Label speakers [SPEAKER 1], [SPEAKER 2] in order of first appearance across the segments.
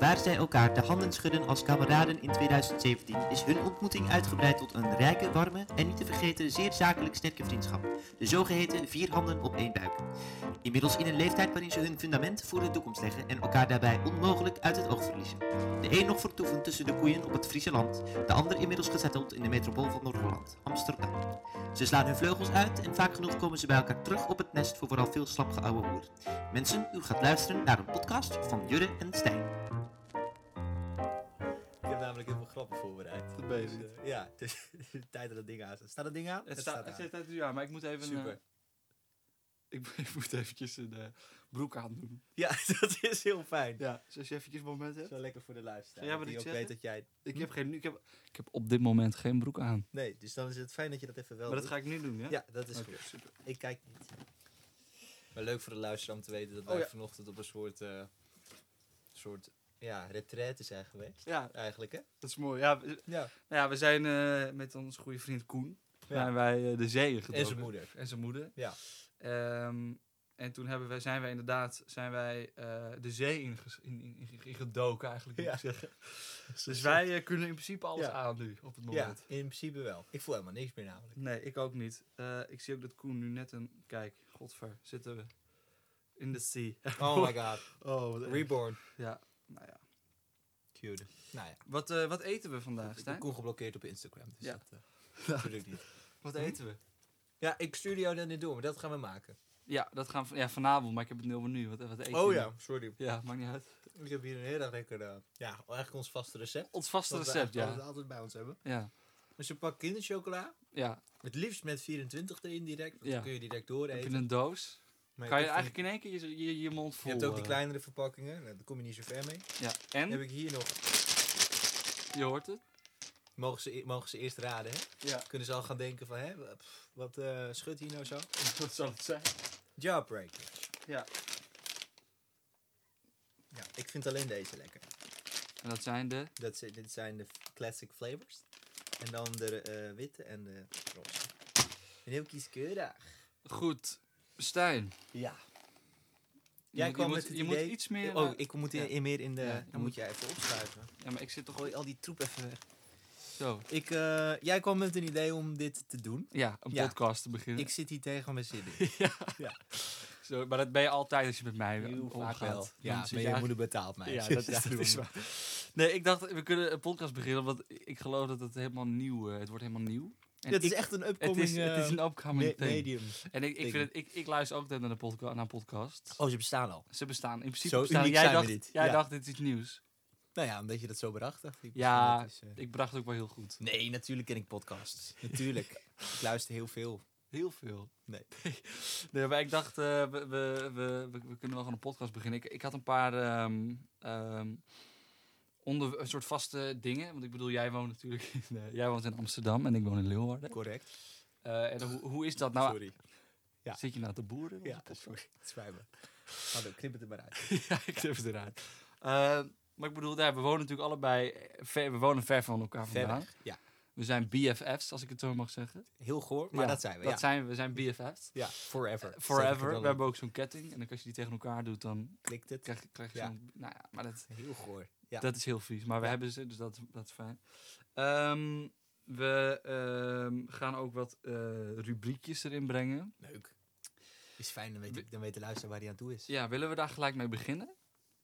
[SPEAKER 1] Waar zij elkaar de handen schudden als kameraden in 2017, is hun ontmoeting uitgebreid tot een rijke, warme en niet te vergeten zeer zakelijk sterke vriendschap. De zogeheten vier handen op één buik. Inmiddels in een leeftijd waarin ze hun fundament voor de toekomst leggen en elkaar daarbij onmogelijk uit het oog verliezen. De een nog vertoevend tussen de koeien op het Friese land, de ander inmiddels gezetteld in de metropool van Noord-Holland, Amsterdam. Ze slaan hun vleugels uit en vaak genoeg komen ze bij elkaar terug op het nest voor vooral veel slapgeouwe hoer. Mensen, u gaat luisteren naar een podcast van Jurre en Stijn.
[SPEAKER 2] Ik heb namelijk heel veel grappen voorbereid.
[SPEAKER 3] Goed bezig.
[SPEAKER 2] Dus, eh, ja, het is het is tijd dat dat ding aan staat. Staat dat ding aan?
[SPEAKER 3] Het staat het
[SPEAKER 2] aan.
[SPEAKER 3] staat nu aan, maar ik moet even. eh,
[SPEAKER 2] Super.
[SPEAKER 3] ik, mo- ik moet eventjes een eh, broek aandoen.
[SPEAKER 2] Ja, dat is heel fijn.
[SPEAKER 3] Ja, dus als je eventjes een moment hebt.
[SPEAKER 2] Zo lekker voor de luisteraar.
[SPEAKER 3] Zou jij
[SPEAKER 2] dat
[SPEAKER 3] wat
[SPEAKER 2] die ook
[SPEAKER 3] iets
[SPEAKER 2] weet
[SPEAKER 3] zeggen?
[SPEAKER 2] dat jij...
[SPEAKER 3] Ik heb, geen, ik, heb, ik heb op dit moment geen broek aan.
[SPEAKER 2] Nee, dus dan is het fijn dat je dat even wel
[SPEAKER 3] Maar dat
[SPEAKER 2] doet.
[SPEAKER 3] ga ik nu doen, ja?
[SPEAKER 2] Ja, dat is
[SPEAKER 3] Oké,
[SPEAKER 2] goed.
[SPEAKER 3] super.
[SPEAKER 2] Ik kijk niet. Maar leuk voor de luisteraar om te weten dat
[SPEAKER 3] Oh,
[SPEAKER 2] wij
[SPEAKER 3] ja.
[SPEAKER 2] vanochtend op een soort... eh, soort ja, retraite zijn geweest.
[SPEAKER 3] Ja,
[SPEAKER 2] Eigenlijk, hè?
[SPEAKER 3] dat is mooi. Ja, we, nou
[SPEAKER 2] Ja.
[SPEAKER 3] ja, we zijn eh, met onze goede vriend Koen. Zijn wij eh, de zeeën getrokken.
[SPEAKER 2] En zijn moeder.
[SPEAKER 3] En zijn moeder.
[SPEAKER 2] Ja.
[SPEAKER 3] Ehm, en toen hebben wij, zijn wij inderdaad zijn wij, eh, de zee inges- in, in, in, in gedoken, eigenlijk. Moet
[SPEAKER 2] Ja.
[SPEAKER 3] ik zeggen. Dus wij eh, kunnen in principe alles
[SPEAKER 2] Ja.
[SPEAKER 3] aan nu, op het
[SPEAKER 2] Ja,
[SPEAKER 3] moment.
[SPEAKER 2] in principe wel. Ik voel helemaal niks meer namelijk.
[SPEAKER 3] Nee, ik ook niet. Eh, ik zie ook dat Koen nu net een... Kijk, godver, zitten we in de sea.
[SPEAKER 2] Oh my god.
[SPEAKER 3] Oh, wat
[SPEAKER 2] Reborn.
[SPEAKER 3] Ja, nou ja.
[SPEAKER 2] Cute. Nou ja.
[SPEAKER 3] Wat, eh, wat eten we vandaag,
[SPEAKER 2] Ik ben
[SPEAKER 3] Stijn?
[SPEAKER 2] Koen geblokkeerd op Instagram. Dus
[SPEAKER 3] Ja.
[SPEAKER 2] dat eh, natuurlijk niet.
[SPEAKER 3] Wat eten we?
[SPEAKER 2] Ja, ik stuur jou dan niet door, maar dat gaan we maken.
[SPEAKER 3] Ja, dat gaan we van- ja, vanavond, maar ik heb het nu over nu. Wat, wat eten
[SPEAKER 2] Oh
[SPEAKER 3] we?
[SPEAKER 2] sorry.
[SPEAKER 3] Ja, maakt niet uit.
[SPEAKER 2] Ik heb hier een heel erg lekker, eh, ja, eigenlijk ons vaste recept.
[SPEAKER 3] Ons vaste
[SPEAKER 2] Wat we
[SPEAKER 3] recept,
[SPEAKER 2] eigenlijk
[SPEAKER 3] ja.
[SPEAKER 2] altijd bij ons hebben.
[SPEAKER 3] Ja,
[SPEAKER 2] Dus een pak kinderchocola.
[SPEAKER 3] ja.
[SPEAKER 2] Het liefst met 24 erin direct. want
[SPEAKER 3] Ja.
[SPEAKER 2] Dan kun je direct door
[SPEAKER 3] Heb
[SPEAKER 2] eten.
[SPEAKER 3] je een doos?
[SPEAKER 2] Maar
[SPEAKER 3] Kan je
[SPEAKER 2] ik vind-
[SPEAKER 3] eigenlijk in één keer je, je, je mond
[SPEAKER 2] Je
[SPEAKER 3] vol...
[SPEAKER 2] hebt ook die
[SPEAKER 3] eh, Hm?
[SPEAKER 2] kleinere verpakkingen. Nou, daar kom je niet zo ver mee.
[SPEAKER 3] Ja,
[SPEAKER 2] Dan heb
[SPEAKER 3] en?
[SPEAKER 2] ik hier nog...
[SPEAKER 3] Je hoort het?
[SPEAKER 2] Mogen ze, e- mogen ze eerst raden, hè?
[SPEAKER 3] Ja,
[SPEAKER 2] Kunnen ze al gaan denken van, hè? w- pff, wat eh schudt hier nou zo?
[SPEAKER 3] dat zal het zijn.
[SPEAKER 2] Jawbreaker.
[SPEAKER 3] Ja.
[SPEAKER 2] Ja, ik vind alleen deze lekker.
[SPEAKER 3] En dat zijn de...
[SPEAKER 2] Dat zi- dit zijn de f- classic flavors. En dan de eh, witte en de roze. En heel kieskeurig.
[SPEAKER 3] Goed, Stijn.
[SPEAKER 2] Ja.
[SPEAKER 3] Je
[SPEAKER 2] Jij
[SPEAKER 3] moet-
[SPEAKER 2] kwam
[SPEAKER 3] je
[SPEAKER 2] met
[SPEAKER 3] moet,
[SPEAKER 2] het
[SPEAKER 3] je
[SPEAKER 2] idee-
[SPEAKER 3] moet iets meer...
[SPEAKER 2] Oh,
[SPEAKER 3] eh,
[SPEAKER 2] ik moet in,
[SPEAKER 3] ja.
[SPEAKER 2] in meer in de...
[SPEAKER 3] Ja, je
[SPEAKER 2] dan
[SPEAKER 3] moet-
[SPEAKER 2] moet jij even opschuiven.
[SPEAKER 3] Ja, maar ik zit toch...
[SPEAKER 2] Gooi al Oh, die troep even weg.
[SPEAKER 3] Zo.
[SPEAKER 2] Ik, eh, jij kwam met een idee om dit te doen.
[SPEAKER 3] Ja, een
[SPEAKER 2] Ja.
[SPEAKER 3] podcast te beginnen.
[SPEAKER 2] Ik zit hier tegen mijn zin in.
[SPEAKER 3] Zo, maar dat ben je altijd als je met mij
[SPEAKER 2] Heel vaak
[SPEAKER 3] omgaat.
[SPEAKER 2] wel.
[SPEAKER 3] Dan
[SPEAKER 2] Ja,
[SPEAKER 3] zit
[SPEAKER 2] maar
[SPEAKER 3] je
[SPEAKER 2] je
[SPEAKER 3] eigenlijk-
[SPEAKER 2] moeder betaalt mij.
[SPEAKER 3] Ja,
[SPEAKER 2] Dus
[SPEAKER 3] dat, ja, dat
[SPEAKER 2] doen
[SPEAKER 3] is
[SPEAKER 2] we.
[SPEAKER 3] waar. Nee, ik dacht, we kunnen een podcast beginnen, want ik geloof dat het helemaal nieuw eh, Het wordt helemaal nieuw. En
[SPEAKER 2] Het is
[SPEAKER 3] ik-
[SPEAKER 2] echt een
[SPEAKER 3] het
[SPEAKER 2] upcoming
[SPEAKER 3] is, het is
[SPEAKER 2] eh,
[SPEAKER 3] een upcoming
[SPEAKER 2] me-
[SPEAKER 3] thing.
[SPEAKER 2] medium.
[SPEAKER 3] En ik, ik,
[SPEAKER 2] ding.
[SPEAKER 3] vind het, ik, ik luister ook naar, de podca naar podcasts.
[SPEAKER 2] Oh, ze bestaan al.
[SPEAKER 3] Ze bestaan in principe.
[SPEAKER 2] Zo
[SPEAKER 3] bestaan,
[SPEAKER 2] uniek
[SPEAKER 3] jij
[SPEAKER 2] zijn we
[SPEAKER 3] dacht,
[SPEAKER 2] niet.
[SPEAKER 3] Jij
[SPEAKER 2] Ja.
[SPEAKER 3] dacht, dit is iets nieuws.
[SPEAKER 2] Nou ja, omdat je dat zo bracht, dacht ik.
[SPEAKER 3] Ja,
[SPEAKER 2] dat is, eh,
[SPEAKER 3] Ik bracht het ook wel heel goed.
[SPEAKER 2] Nee, natuurlijk ken ik podcasts. Natuurlijk. ik luister heel veel.
[SPEAKER 3] Heel veel.
[SPEAKER 2] Nee.
[SPEAKER 3] nee maar ik dacht, eh, we, we, we, we- we kunnen wel gewoon een podcast beginnen. Ik, ik had een paar ehm, ehm, onder, een soort vaste dingen. Want ik bedoel, jij woont natuurlijk in, eh, jij woont in Amsterdam en ik woon in Leeuwarden.
[SPEAKER 2] Correct.
[SPEAKER 3] Eh, en hoe, hoe is dat nou?
[SPEAKER 2] sorry. ja.
[SPEAKER 3] Zit je nou te boeren? in onze
[SPEAKER 2] Ja,
[SPEAKER 3] podcast?
[SPEAKER 2] sorry. Het spijt me. Hallo, knip het er maar uit.
[SPEAKER 3] ja, ik durf het eruit. Eh, maar ik bedoel, daar, we wonen natuurlijk allebei eh, ver, we wonen ver van elkaar
[SPEAKER 2] Ver
[SPEAKER 3] vandaan.
[SPEAKER 2] weg. Ja,
[SPEAKER 3] We zijn BFF's, als ik het zo mag zeggen.
[SPEAKER 2] heel goor, maar
[SPEAKER 3] Ja,
[SPEAKER 2] dat zijn we.
[SPEAKER 3] Dat
[SPEAKER 2] ja.
[SPEAKER 3] zijn we, we zijn BFF's.
[SPEAKER 2] ja, forever. Zeg ik het
[SPEAKER 3] Forever.
[SPEAKER 2] wel
[SPEAKER 3] We hebben ook zo'n ketting. En dan als je die tegen elkaar doet, dan
[SPEAKER 2] op. Klikt het.
[SPEAKER 3] krijg, krijg je
[SPEAKER 2] Ja.
[SPEAKER 3] zo'n... Nou ja, maar dat,
[SPEAKER 2] Heel goor. Ja.
[SPEAKER 3] dat is heel vies. Maar we
[SPEAKER 2] Ja.
[SPEAKER 3] hebben ze, dus dat, dat is fijn. Ehm, we ehm, gaan ook wat eh, rubriekjes erin brengen.
[SPEAKER 2] Leuk. Is fijn, dan weet, ik- dan weet de luisteraar waar hij aan toe is.
[SPEAKER 3] Ja, willen we daar gelijk mee beginnen?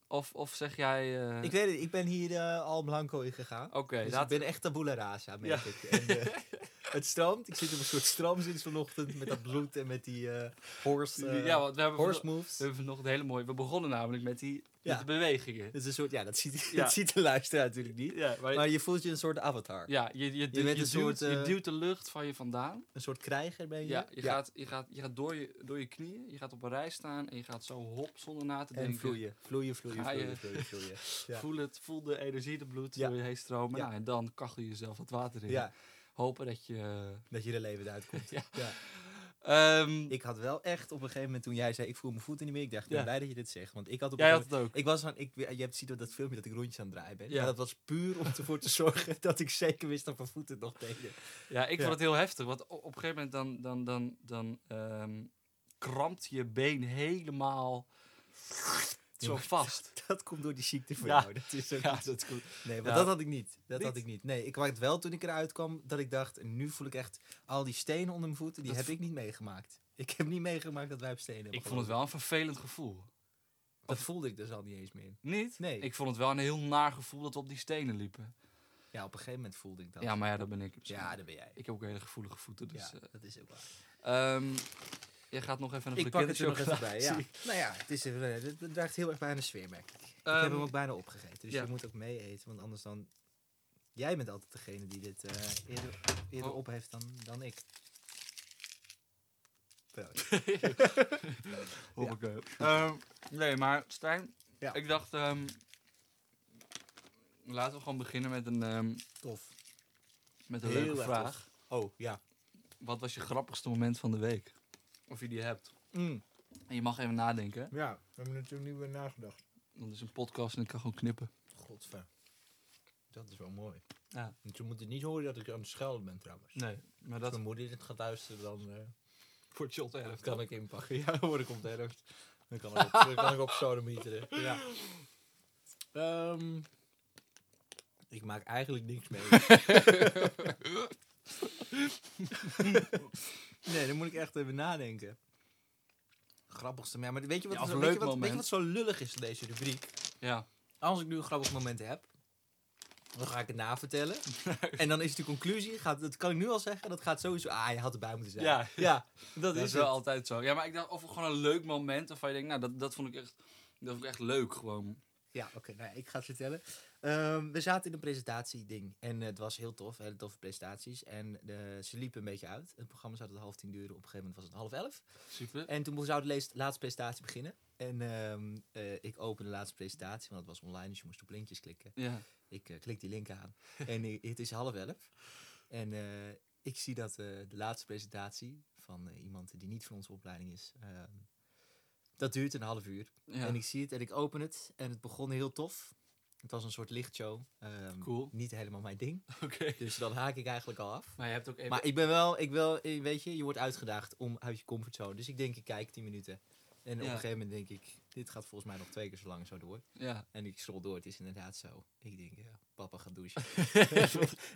[SPEAKER 3] Of, of zeg jij... eh,
[SPEAKER 2] Ik weet het, ik ben hier eh, al blanco in gegaan.
[SPEAKER 3] Oké,
[SPEAKER 2] dus
[SPEAKER 3] laten-
[SPEAKER 2] ik ben echt tabula rasa, merk ik. En, eh, het stroomt. Ik zit op een soort stroom sinds vanochtend met dat bloed en met die eh horse, eh,
[SPEAKER 3] ja, want we hebben,
[SPEAKER 2] horse
[SPEAKER 3] vanochtend-
[SPEAKER 2] moves.
[SPEAKER 3] we hebben vanochtend hele mooie... We begonnen namelijk met die
[SPEAKER 2] Ja.
[SPEAKER 3] met de bewegingen.
[SPEAKER 2] Dat is een soort, ja, dat ziet,
[SPEAKER 3] Ja.
[SPEAKER 2] dat ziet de luisteraar natuurlijk niet.
[SPEAKER 3] Ja, maar,
[SPEAKER 2] Maar je voelt je een soort avatar.
[SPEAKER 3] ja je, je, je,
[SPEAKER 2] bent een
[SPEAKER 3] duwt,
[SPEAKER 2] soort,
[SPEAKER 3] je
[SPEAKER 2] eh,
[SPEAKER 3] duwt de lucht van je vandaan.
[SPEAKER 2] Een soort krijger ben je.
[SPEAKER 3] Ja, je gaat, je gaat, je gaat door, je, door je knieën, je gaat op een rij staan en je gaat zo hop zonder na te
[SPEAKER 2] en
[SPEAKER 3] denken.
[SPEAKER 2] vloeien. Vloeien, vloeien,
[SPEAKER 3] Ga je-
[SPEAKER 2] vloeien, vloeien, vloeien. Ja.
[SPEAKER 3] Voel, het, voel de energie, de bloed
[SPEAKER 2] Ja.
[SPEAKER 3] door je heen stromen.
[SPEAKER 2] Ja.
[SPEAKER 3] Nou, en dan kachel je jezelf wat water in.
[SPEAKER 2] Ja,
[SPEAKER 3] Hopen dat je...
[SPEAKER 2] dat je er levend uitkomt.
[SPEAKER 3] Ja.
[SPEAKER 2] ja.
[SPEAKER 3] Ehm
[SPEAKER 2] Ik had wel echt op een gegeven moment toen jij zei, ik voel mijn voeten niet meer. Ik dacht, ik ben
[SPEAKER 3] Ja.
[SPEAKER 2] blij dat je dit zegt. Want ik had op een
[SPEAKER 3] jij
[SPEAKER 2] gegeven
[SPEAKER 3] had het ook.
[SPEAKER 2] Ik was aan, ik, je hebt ziet op dat filmpje dat ik rondjes aan het draaien ben.
[SPEAKER 3] Ja.
[SPEAKER 2] Maar dat was puur om ervoor te zorgen dat ik zeker wist dat mijn voeten het nog deden.
[SPEAKER 3] Ja, ik
[SPEAKER 2] Ja.
[SPEAKER 3] vond het heel heftig. Want o- op een gegeven moment dan, dan, dan, dan ehm, krampt je been helemaal Zo vast.
[SPEAKER 2] Dat komt door die ziekte voor
[SPEAKER 3] Ja.
[SPEAKER 2] jou. Dat is ook
[SPEAKER 3] Ja,
[SPEAKER 2] niet-
[SPEAKER 3] dat is goed.
[SPEAKER 2] Nee, maar
[SPEAKER 3] Ja.
[SPEAKER 2] dat had ik niet. Dat
[SPEAKER 3] Niet?
[SPEAKER 2] had ik niet. Nee, ik wou het wel toen ik eruit kwam dat ik dacht, nu voel ik echt al die stenen onder mijn voeten, die
[SPEAKER 3] Dat
[SPEAKER 2] heb ik niet meegemaakt. Ik heb niet meegemaakt dat wij op stenen hebben
[SPEAKER 3] Ik vond het wel een vervelend gevoel.
[SPEAKER 2] gelopen. Dat voelde ik dus al niet eens meer.
[SPEAKER 3] Niet?
[SPEAKER 2] Nee.
[SPEAKER 3] Ik vond het wel een heel naar gevoel dat we op die stenen liepen.
[SPEAKER 2] Ja, op een gegeven moment voelde ik dat.
[SPEAKER 3] Ja, maar ja, dat ben ik.
[SPEAKER 2] Ja, dat ben jij.
[SPEAKER 3] Ik heb ook hele gevoelige voeten, dus...
[SPEAKER 2] ja,
[SPEAKER 3] eh,
[SPEAKER 2] dat is ook waar.
[SPEAKER 3] ehm, jij gaat nog even naar de
[SPEAKER 2] Ik pak het er nog even
[SPEAKER 3] kinderchocolade.
[SPEAKER 2] bij. Ja. Nou ja, het, is, eh, het het draagt heel erg bij aan de sfeer, merk ik. Ik
[SPEAKER 3] Ehm,
[SPEAKER 2] heb hem ook bijna opgegeten, dus
[SPEAKER 3] ja.
[SPEAKER 2] je moet ook mee eten, want anders dan... Jij bent altijd degene die dit eh, eerder, eerder
[SPEAKER 3] Oh.
[SPEAKER 2] op heeft dan, dan ik. Wel,
[SPEAKER 3] Hoppakee. Ehm, nee, maar Stijn,
[SPEAKER 2] Ja.
[SPEAKER 3] ik dacht, ehm, laten we gewoon beginnen met een, ehm,
[SPEAKER 2] Tof.
[SPEAKER 3] met een
[SPEAKER 2] Heel
[SPEAKER 3] leuke
[SPEAKER 2] erg
[SPEAKER 3] vraag.
[SPEAKER 2] Oh, ja.
[SPEAKER 3] Wat was je grappigste moment van de week? Of je die hebt. En je mag even nadenken. hè?
[SPEAKER 2] Mm, Ja, we hebben natuurlijk niet meer nagedacht.
[SPEAKER 3] Dat is een podcast en ik kan gewoon knippen.
[SPEAKER 2] Godver. Dat is wel mooi.
[SPEAKER 3] Ja.
[SPEAKER 2] Want je moet het niet horen dat ik aan het schelden ben trouwens.
[SPEAKER 3] Nee, maar
[SPEAKER 2] Als
[SPEAKER 3] dat
[SPEAKER 2] mijn moeder dit gaat luisteren, dan eh,
[SPEAKER 3] wordt je
[SPEAKER 2] dat kan ik inpakken. Ja, dan word ik op de helft. Dan kan ik op, dan kan ik op sodemieteren. Ja. Ehm, ik maak eigenlijk niks mee. nee, dan moet ik echt even nadenken. Grappigste, ja, maar weet je wat,
[SPEAKER 3] Ja, of
[SPEAKER 2] zo-
[SPEAKER 3] een
[SPEAKER 2] weet je
[SPEAKER 3] leuk
[SPEAKER 2] wat, weet je
[SPEAKER 3] moment.
[SPEAKER 2] wat zo lullig is in deze rubriek?
[SPEAKER 3] Ja.
[SPEAKER 2] als ik nu een grappig moment heb, dan ga ik het navertellen. en dan is de conclusie, gaat, dat kan ik nu al zeggen, dat gaat sowieso... Ah, je had erbij moeten zijn.
[SPEAKER 3] Ja.
[SPEAKER 2] dat,
[SPEAKER 3] Dat,
[SPEAKER 2] is
[SPEAKER 3] is wel
[SPEAKER 2] het.
[SPEAKER 3] altijd zo. Ja, maar ik dacht, of gewoon een leuk moment waarvan je denkt, nou, dat, dat vond ik echt, dat vond ik echt leuk gewoon.
[SPEAKER 2] Ja, oké, nou, ja, ik ga het vertellen. Ehm, we zaten in een presentatieding en eh, het was heel tof, hele toffe presentaties. En eh, ze liepen een beetje uit. Het programma zou tot half tien duren, op een gegeven moment was het half elf.
[SPEAKER 3] Super.
[SPEAKER 2] En toen zou de lees- laatste presentatie beginnen. En ehm, eh, ik opende de laatste presentatie, want het was online, dus je moest op linkjes klikken.
[SPEAKER 3] Ja.
[SPEAKER 2] Ik eh, klik die link aan. en eh, het is half elf. En eh, ik zie dat eh, de laatste presentatie van eh, iemand die niet van onze opleiding is, eh, dat duurt een half uur.
[SPEAKER 3] ja.
[SPEAKER 2] En ik zie het en ik open het. En het begon heel tof. Het was een soort lichtshow. Ehm,
[SPEAKER 3] Cool.
[SPEAKER 2] Niet helemaal mijn ding.
[SPEAKER 3] Oké.
[SPEAKER 2] Dus dan haak ik eigenlijk al af.
[SPEAKER 3] Maar je hebt ook even...
[SPEAKER 2] Maar ik ben wel, ik wel, eh, weet je, je wordt uitgedaagd om uit je comfortzone. Dus ik denk, ik kijk 10 minuten. En op
[SPEAKER 3] Ja.
[SPEAKER 2] een gegeven moment denk ik, dit gaat volgens mij nog twee keer zo lang zo door.
[SPEAKER 3] Ja.
[SPEAKER 2] En ik scroll door, het is inderdaad zo. Ik denk, ja, papa gaat douchen.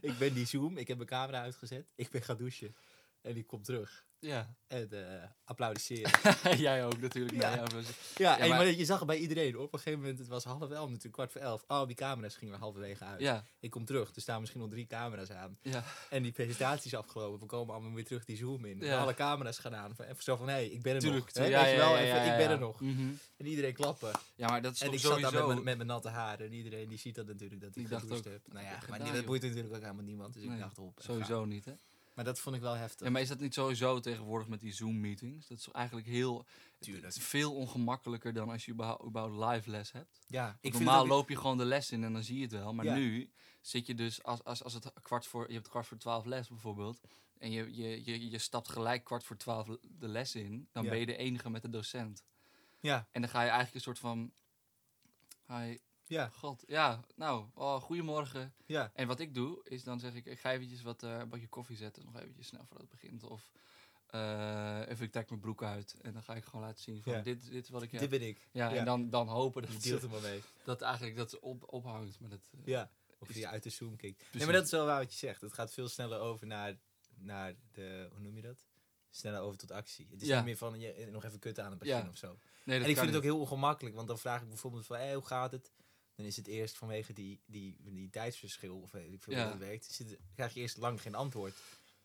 [SPEAKER 2] ik ben die Zoom, ik heb mijn camera uitgezet, ik ben gaan douchen. En die komt terug.
[SPEAKER 3] Ja.
[SPEAKER 2] En eh applaudisseren.
[SPEAKER 3] Jij ook natuurlijk.
[SPEAKER 2] Ja.
[SPEAKER 3] Nee, ja, maar-
[SPEAKER 2] ja, en,
[SPEAKER 3] maar-
[SPEAKER 2] maar je zag het bij iedereen. hoor. Op een gegeven moment, het was half elf natuurlijk, kwart voor elf. Oh, die camera's gingen er halverwege uit.
[SPEAKER 3] ja.
[SPEAKER 2] Ik kom terug, er staan misschien nog drie camera's aan.
[SPEAKER 3] Ja.
[SPEAKER 2] En die presentatie is afgelopen. We komen allemaal weer terug die Zoom in.
[SPEAKER 3] Ja.
[SPEAKER 2] Alle camera's gaan aan. En Zo van, hé, hey, ik ben er
[SPEAKER 3] Tuurlijk.
[SPEAKER 2] nog. Hè,
[SPEAKER 3] ja,
[SPEAKER 2] weet je wel,
[SPEAKER 3] ja, ja,
[SPEAKER 2] even,
[SPEAKER 3] ja,
[SPEAKER 2] ik ben
[SPEAKER 3] ja.
[SPEAKER 2] er nog.
[SPEAKER 3] Mhm.
[SPEAKER 2] En iedereen klappen.
[SPEAKER 3] Ja, maar dat is
[SPEAKER 2] En
[SPEAKER 3] toch
[SPEAKER 2] ik zat daar met
[SPEAKER 3] sowieso...
[SPEAKER 2] mijn, met mijn natte haren. En iedereen die ziet dat natuurlijk, dat
[SPEAKER 3] Die
[SPEAKER 2] ik
[SPEAKER 3] dacht
[SPEAKER 2] gedoucht
[SPEAKER 3] ook,
[SPEAKER 2] heb.
[SPEAKER 3] wat
[SPEAKER 2] Nou
[SPEAKER 3] heb
[SPEAKER 2] ja,
[SPEAKER 3] je
[SPEAKER 2] maar
[SPEAKER 3] gedaan,
[SPEAKER 2] die- dat
[SPEAKER 3] joh?
[SPEAKER 2] boeit natuurlijk ook helemaal niemand. Dus
[SPEAKER 3] Nee,
[SPEAKER 2] ik dacht op. en
[SPEAKER 3] Sowieso niet, hè?
[SPEAKER 2] ga. Maar dat vond ik wel heftig.
[SPEAKER 3] Ja, maar is dat niet sowieso tegenwoordig met die Zoom-meetings? Dat is eigenlijk heel...
[SPEAKER 2] Tuurlijk.
[SPEAKER 3] het is veel ongemakkelijker dan als je überhaupt, überhaupt live les hebt.
[SPEAKER 2] ja, ik vind
[SPEAKER 3] Normaal
[SPEAKER 2] het ook-
[SPEAKER 3] loop je gewoon de les in en dan zie je het wel. Maar
[SPEAKER 2] Ja.
[SPEAKER 3] nu zit je dus, als, als, als het kwart voor... Je hebt kwart voor twaalf les bijvoorbeeld. En je, je, je, je stapt gelijk kwart voor twaalf de les in. Dan
[SPEAKER 2] Ja.
[SPEAKER 3] ben je de enige met de docent.
[SPEAKER 2] Ja,
[SPEAKER 3] En dan ga je eigenlijk een soort van... Hi,
[SPEAKER 2] ja,
[SPEAKER 3] god, ja, nou, oh, goedemorgen.
[SPEAKER 2] ja.
[SPEAKER 3] En wat ik doe, is dan zeg ik, ik ga eventjes wat, eh, een bakje koffie zetten, nog eventjes snel voordat het begint. Of eh, even, ik trek mijn broek uit en dan ga ik gewoon laten zien van,
[SPEAKER 2] Ja.
[SPEAKER 3] dit, dit is wat ik
[SPEAKER 2] Dit
[SPEAKER 3] heb.
[SPEAKER 2] ben ik.
[SPEAKER 3] Ja,
[SPEAKER 2] ja.
[SPEAKER 3] en dan, dan hopen
[SPEAKER 2] Je
[SPEAKER 3] dat,
[SPEAKER 2] deelt
[SPEAKER 3] ze-
[SPEAKER 2] er maar mee.
[SPEAKER 3] dat eigenlijk dat ze op, ophangt. Maar dat, eh,
[SPEAKER 2] Ja. Of
[SPEAKER 3] Is-
[SPEAKER 2] je uit de Zoom kijkt. Nee,
[SPEAKER 3] Precies.
[SPEAKER 2] maar dat is wel waar wat je zegt. Het gaat veel sneller over naar, naar de, hoe noem je dat? Sneller over tot actie. Het is
[SPEAKER 3] Ja.
[SPEAKER 2] niet meer van, je, nog even kut aan het begin
[SPEAKER 3] Ja.
[SPEAKER 2] of zo.
[SPEAKER 3] nee, dat
[SPEAKER 2] En ik
[SPEAKER 3] kan
[SPEAKER 2] vind het ook
[SPEAKER 3] niet.
[SPEAKER 2] heel ongemakkelijk, want dan vraag ik bijvoorbeeld van, hey, hoe gaat het? Dan is het eerst vanwege die, die, die tijdsverschil, of weet ik veel
[SPEAKER 3] Ja.
[SPEAKER 2] hoe dat werkt, zit, krijg je eerst lang geen antwoord.